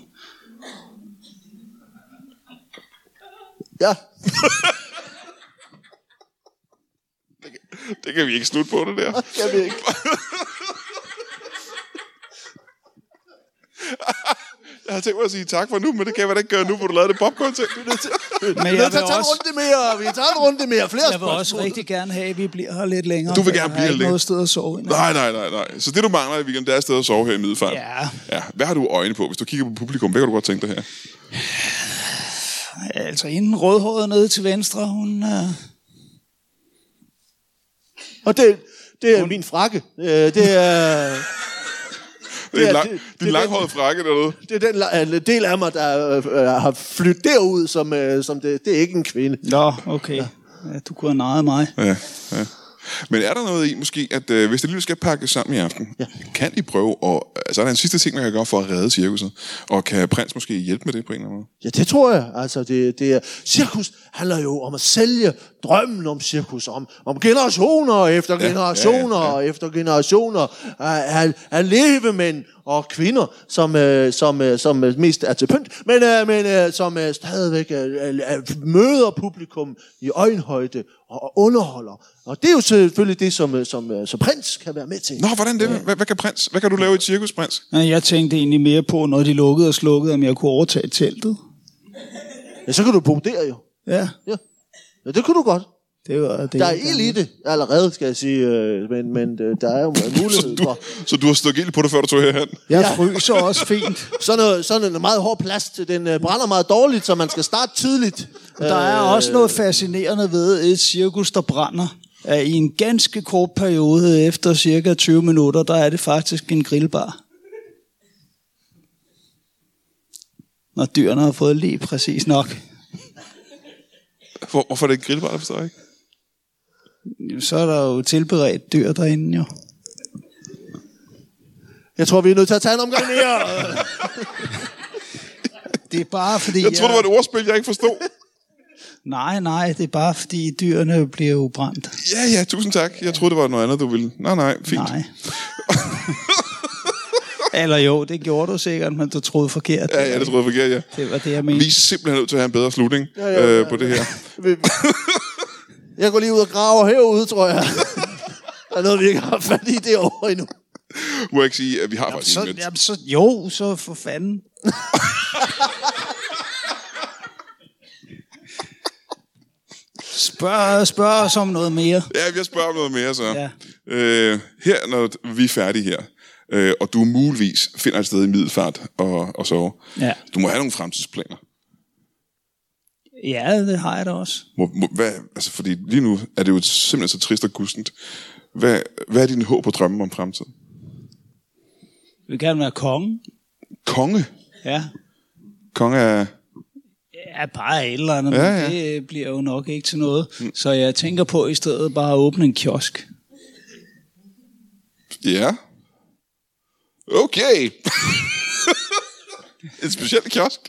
Speaker 3: ja.
Speaker 2: Det kan vi ikke slutte på, det der.
Speaker 3: Jeg ved ikke.
Speaker 2: Jeg har tænkt mig at sige tak for nu, men det kan jeg vel ikke gøre nu, hvor du lavede det popcorn ting.
Speaker 4: Men jeg
Speaker 3: Vi
Speaker 4: vil,
Speaker 3: tager tage en
Speaker 4: også,
Speaker 3: runde mere, vi tager en runde mere. Flere
Speaker 4: jeg vil
Speaker 3: spørgsmål.
Speaker 4: også rigtig gerne have, at vi bliver her lidt længere.
Speaker 2: Du vil gerne
Speaker 4: Jeg
Speaker 2: blive
Speaker 4: har ikke
Speaker 2: her længere.
Speaker 4: noget sted at sove. endnu.
Speaker 2: Nej, nej, nej, nej. Så det, du mangler i weekenden, det er et sted at sove her i Middelfart.
Speaker 4: Ja.
Speaker 2: ja. Hvad har du øjne på? Hvis du kigger på publikum, hvad kan du godt tænke dig her?
Speaker 4: Altså, inden rødhåret nede til venstre, hun... Øh,
Speaker 3: Og det, det er min frakke. Øh, det er...
Speaker 2: Det er,
Speaker 3: Ja,
Speaker 2: lang,
Speaker 3: det-
Speaker 2: din
Speaker 3: det-
Speaker 2: langhårede frakke dernede.
Speaker 3: Det er den la- øh, del af mig, der øh, øh, har flyttet derud, som, øh, som det, det er ikke en kvinde.
Speaker 4: Nå, okay. Ja, du kunne have nejet mig.
Speaker 2: Ja, ja. Men er der noget i, måske, at øh, hvis det lige skal pakkes sammen i aften, ja. kan I prøve, og altså, er der en sidste ting, man kan gøre for at redde cirkuset? Og kan prins måske hjælpe med det på en eller anden måde?
Speaker 3: Ja, det tror jeg. Altså, det, det er, cirkus handler jo om at sælge drømmen om cirkus, om, om generationer efter
Speaker 2: ja,
Speaker 3: generationer ja, ja, ja. efter generationer af, af, af levemænd og kvinder, som, øh, som, øh, som øh, mest er til pynt, men, øh, men øh, som øh, stadigvæk øh, øh, øh, møder publikum i øjenhøjde og, og underholder. Og det er jo selvfølgelig det, som, øh, som, øh, som prins kan være med til.
Speaker 2: Nå, hvordan det? Hvad, hvad, kan prins? Hvad kan du lave i et cirkus, prins?
Speaker 4: Men Jeg tænkte egentlig mere på, når de lukkede og slukkede, om jeg kunne overtage teltet.
Speaker 3: Ja, så kan du bo der jo.
Speaker 4: Ja,
Speaker 3: Ja, ja det kunne du godt.
Speaker 4: det var det.
Speaker 3: Der er ild i det allerede, skal jeg sige, øh, men, men øh, der er jo
Speaker 2: Så
Speaker 3: mulighed
Speaker 2: du,
Speaker 3: for.
Speaker 2: så du har stået ild på det, før du tog herhen?
Speaker 4: Jeg fryser også fint.
Speaker 3: Sådan, noget, sådan en meget hård plast, den øh, brænder meget dårligt, så man skal starte tidligt.
Speaker 2: Øh.
Speaker 3: Øh,
Speaker 4: Der er også noget fascinerende ved et cirkus, der brænder. at i en ganske kort periode, efter cirka 20 minutter, der er det faktisk en grillbar. Når dyrene har fået lige præcis nok,
Speaker 2: Hvor, hvorfor er det ikke grillbar, det forstår jeg ikke.
Speaker 4: så er der jo tilberedt dyr derinde jo.
Speaker 3: Jeg tror, vi er nødt til at tage en omgang mere.
Speaker 4: Det er bare fordi... øh,
Speaker 2: Jeg troede, det var et ordspil, jeg ikke forstod.
Speaker 4: Nej, nej, det er bare fordi dyrene bliver jo brændt.
Speaker 2: Ja, ja, tusind tak. Jeg troede, det var noget andet, du ville. Nej, nej, fint.
Speaker 4: Nej. Eller jo, det gjorde du sikkert, men du troede forkert.
Speaker 2: Ja, ja, det troede jeg forkert, ja.
Speaker 4: Det var det, jeg mente.
Speaker 2: Vi er simpelthen nødt til at have en bedre slutning ja, ja,
Speaker 3: ja,
Speaker 2: ja,
Speaker 3: ja.
Speaker 2: øh, på det her.
Speaker 3: Vi- jeg går lige ud og graver herude, tror jeg. Der er noget, vi ikke har fat i det over endnu.
Speaker 2: Må jeg ikke sige, at vi har faktisk
Speaker 4: Så,
Speaker 2: en
Speaker 4: jamen, så, jo, så for fanden. spørg, spørg os om noget mere.
Speaker 2: Ja, jeg spørger om noget mere så. Ja.
Speaker 4: Ja.
Speaker 2: Øh, her, når vi er færdige her, øh, og du muligvis finder et sted i middelfart og, og sove,
Speaker 4: Ja.
Speaker 2: du må have nogle fremtidsplaner.
Speaker 4: Ja, det har jeg da også.
Speaker 2: Må, må, hvad, altså, fordi lige nu er det jo simpelthen så trist og gustent. Hvad, hvad er din håb og drømme om fremtiden?
Speaker 4: Jeg vil gerne være konge.
Speaker 2: Konge?
Speaker 4: Ja.
Speaker 2: Konge er...
Speaker 4: Ja, bare et eller andet,
Speaker 2: Ja,
Speaker 4: ja,
Speaker 2: ja.
Speaker 4: ja. men det øh, bliver jo nok ikke til noget. Så jeg tænker på i stedet bare at åbne en kiosk.
Speaker 2: Ja. Okay. en speciel kiosk.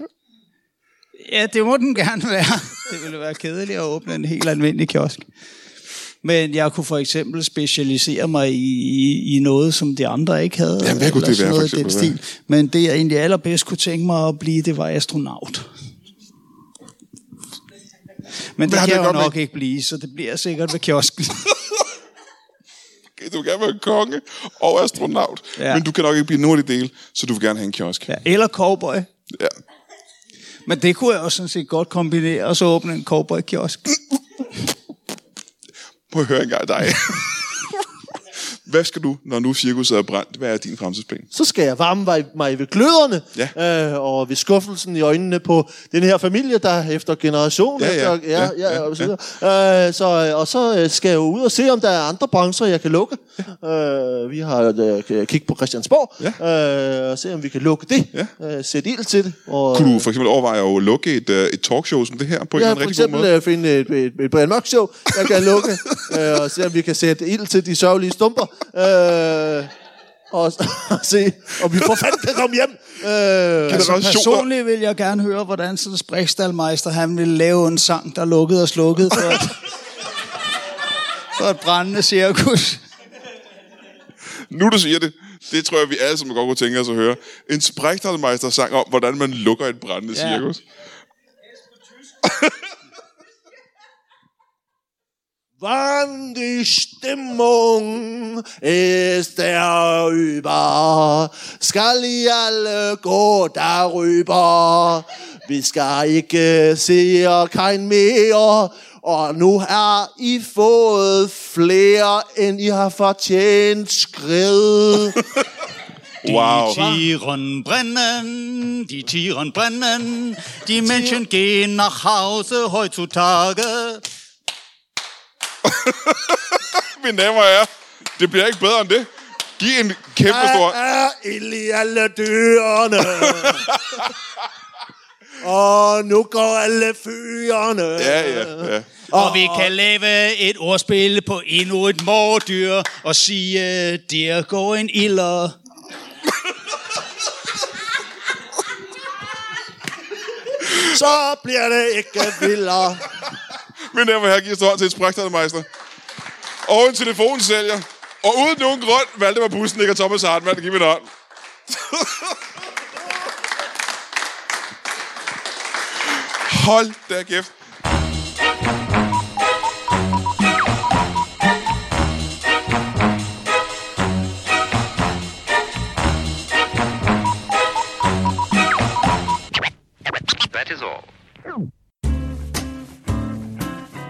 Speaker 4: Ja, det må den gerne være. Det ville være kedeligt at åbne en helt almindelig kiosk. Men jeg kunne for eksempel specialisere mig i, i, i noget, som de andre ikke havde.
Speaker 2: Jamen, hvad kunne
Speaker 4: eller
Speaker 2: det
Speaker 4: sådan
Speaker 2: være, for
Speaker 4: noget i den
Speaker 2: eksempel? Hvad?
Speaker 4: stil. Men det, jeg egentlig allerbedst kunne tænke mig at blive, det var astronaut. Men det
Speaker 2: har
Speaker 4: kan
Speaker 2: det
Speaker 4: jeg jo
Speaker 2: godt med-
Speaker 4: nok ikke blive, så det bliver sikkert ved kiosken.
Speaker 2: Okay, Du vil gerne være konge og astronaut, ja.
Speaker 4: Ja.
Speaker 2: men du kan nok ikke blive nogen af de dele, så du vil gerne have en kiosk.
Speaker 4: Ja, eller cowboy.
Speaker 2: Ja.
Speaker 4: Men det kunne jeg også sådan set godt kombinere, og så åbne en cowboy-kiosk.
Speaker 2: Prøv at høre engang dig. hvad skal du, når nu cirkuset er brændt? Hvad er din fremtidsplan?
Speaker 3: Så skal jeg varme mig- mig ved gløderne øh, og ved skuffelsen i øjnene på den her familie, der efter generation.
Speaker 2: Ja, ja,
Speaker 3: efter,
Speaker 2: ja,
Speaker 3: ja, ja,
Speaker 2: ja,
Speaker 3: ja, og, så videre. Øh, så, øh, og så øh, skal jeg jo ud og se, om der er andre brancher, jeg kan lukke. Øh, vi har øh, kigget på Christiansborg øh, og se, om vi kan lukke det. Øh, sætte ild til det. Og,
Speaker 2: Kunne du for eksempel overveje at lukke et, øh, et talkshow som det her på en eller
Speaker 3: Ja,
Speaker 2: anden
Speaker 3: for
Speaker 2: rigtig god
Speaker 3: eksempel
Speaker 2: måde?
Speaker 3: øh, finde et, et, et Brian Mørk show, jeg kan lukke, øh, og se om vi kan sætte ild til de sørgelige stumper, øh, og, s- og se om vi for fanden kan komme hjem. Øh,
Speaker 4: Altså,
Speaker 2: Generationer.
Speaker 4: personligt vil jeg gerne høre, hvordan sådan Sprekstalmeister, han ville lave en sang, der lukkede og slukkede for et, for et brændende cirkus.
Speaker 2: Nu du siger det, det tror jeg, vi alle sammen godt kunne tænke os at høre. En sprægtalmeister sang om, hvordan man lukker et brændende
Speaker 4: Ja.
Speaker 2: cirkus.
Speaker 3: Wann die Stimmung ist derüber, skal I alle gå derüber. Vi skal ikke se og kein mere, og nu er I fået flere, end I har fortjent skrid.
Speaker 2: Wow.
Speaker 5: Tieren brennen, die Tieren brennen, die Menschen gehen nach Hause heutzutage.
Speaker 2: Mine damer og herrer, det bliver ikke bedre end det. Giv en kæmpe stor...
Speaker 3: Der er ild i alle dørene. og nu går alle fyrene.
Speaker 2: Ja, ja, ja.
Speaker 5: Og vi kan lave et ordspil på endnu et mordyr og sige, der går en iller.
Speaker 3: så bliver det ikke vildere.
Speaker 2: Mine damer og herrer, giv os hånd til et sprægtalmeister. Og en telefonsælger. Og uden nogen grund, Valdemar Bussen, ikke Thomas Hartmann. Giv mig en hånd. Hold da kæft.
Speaker 6: That is all.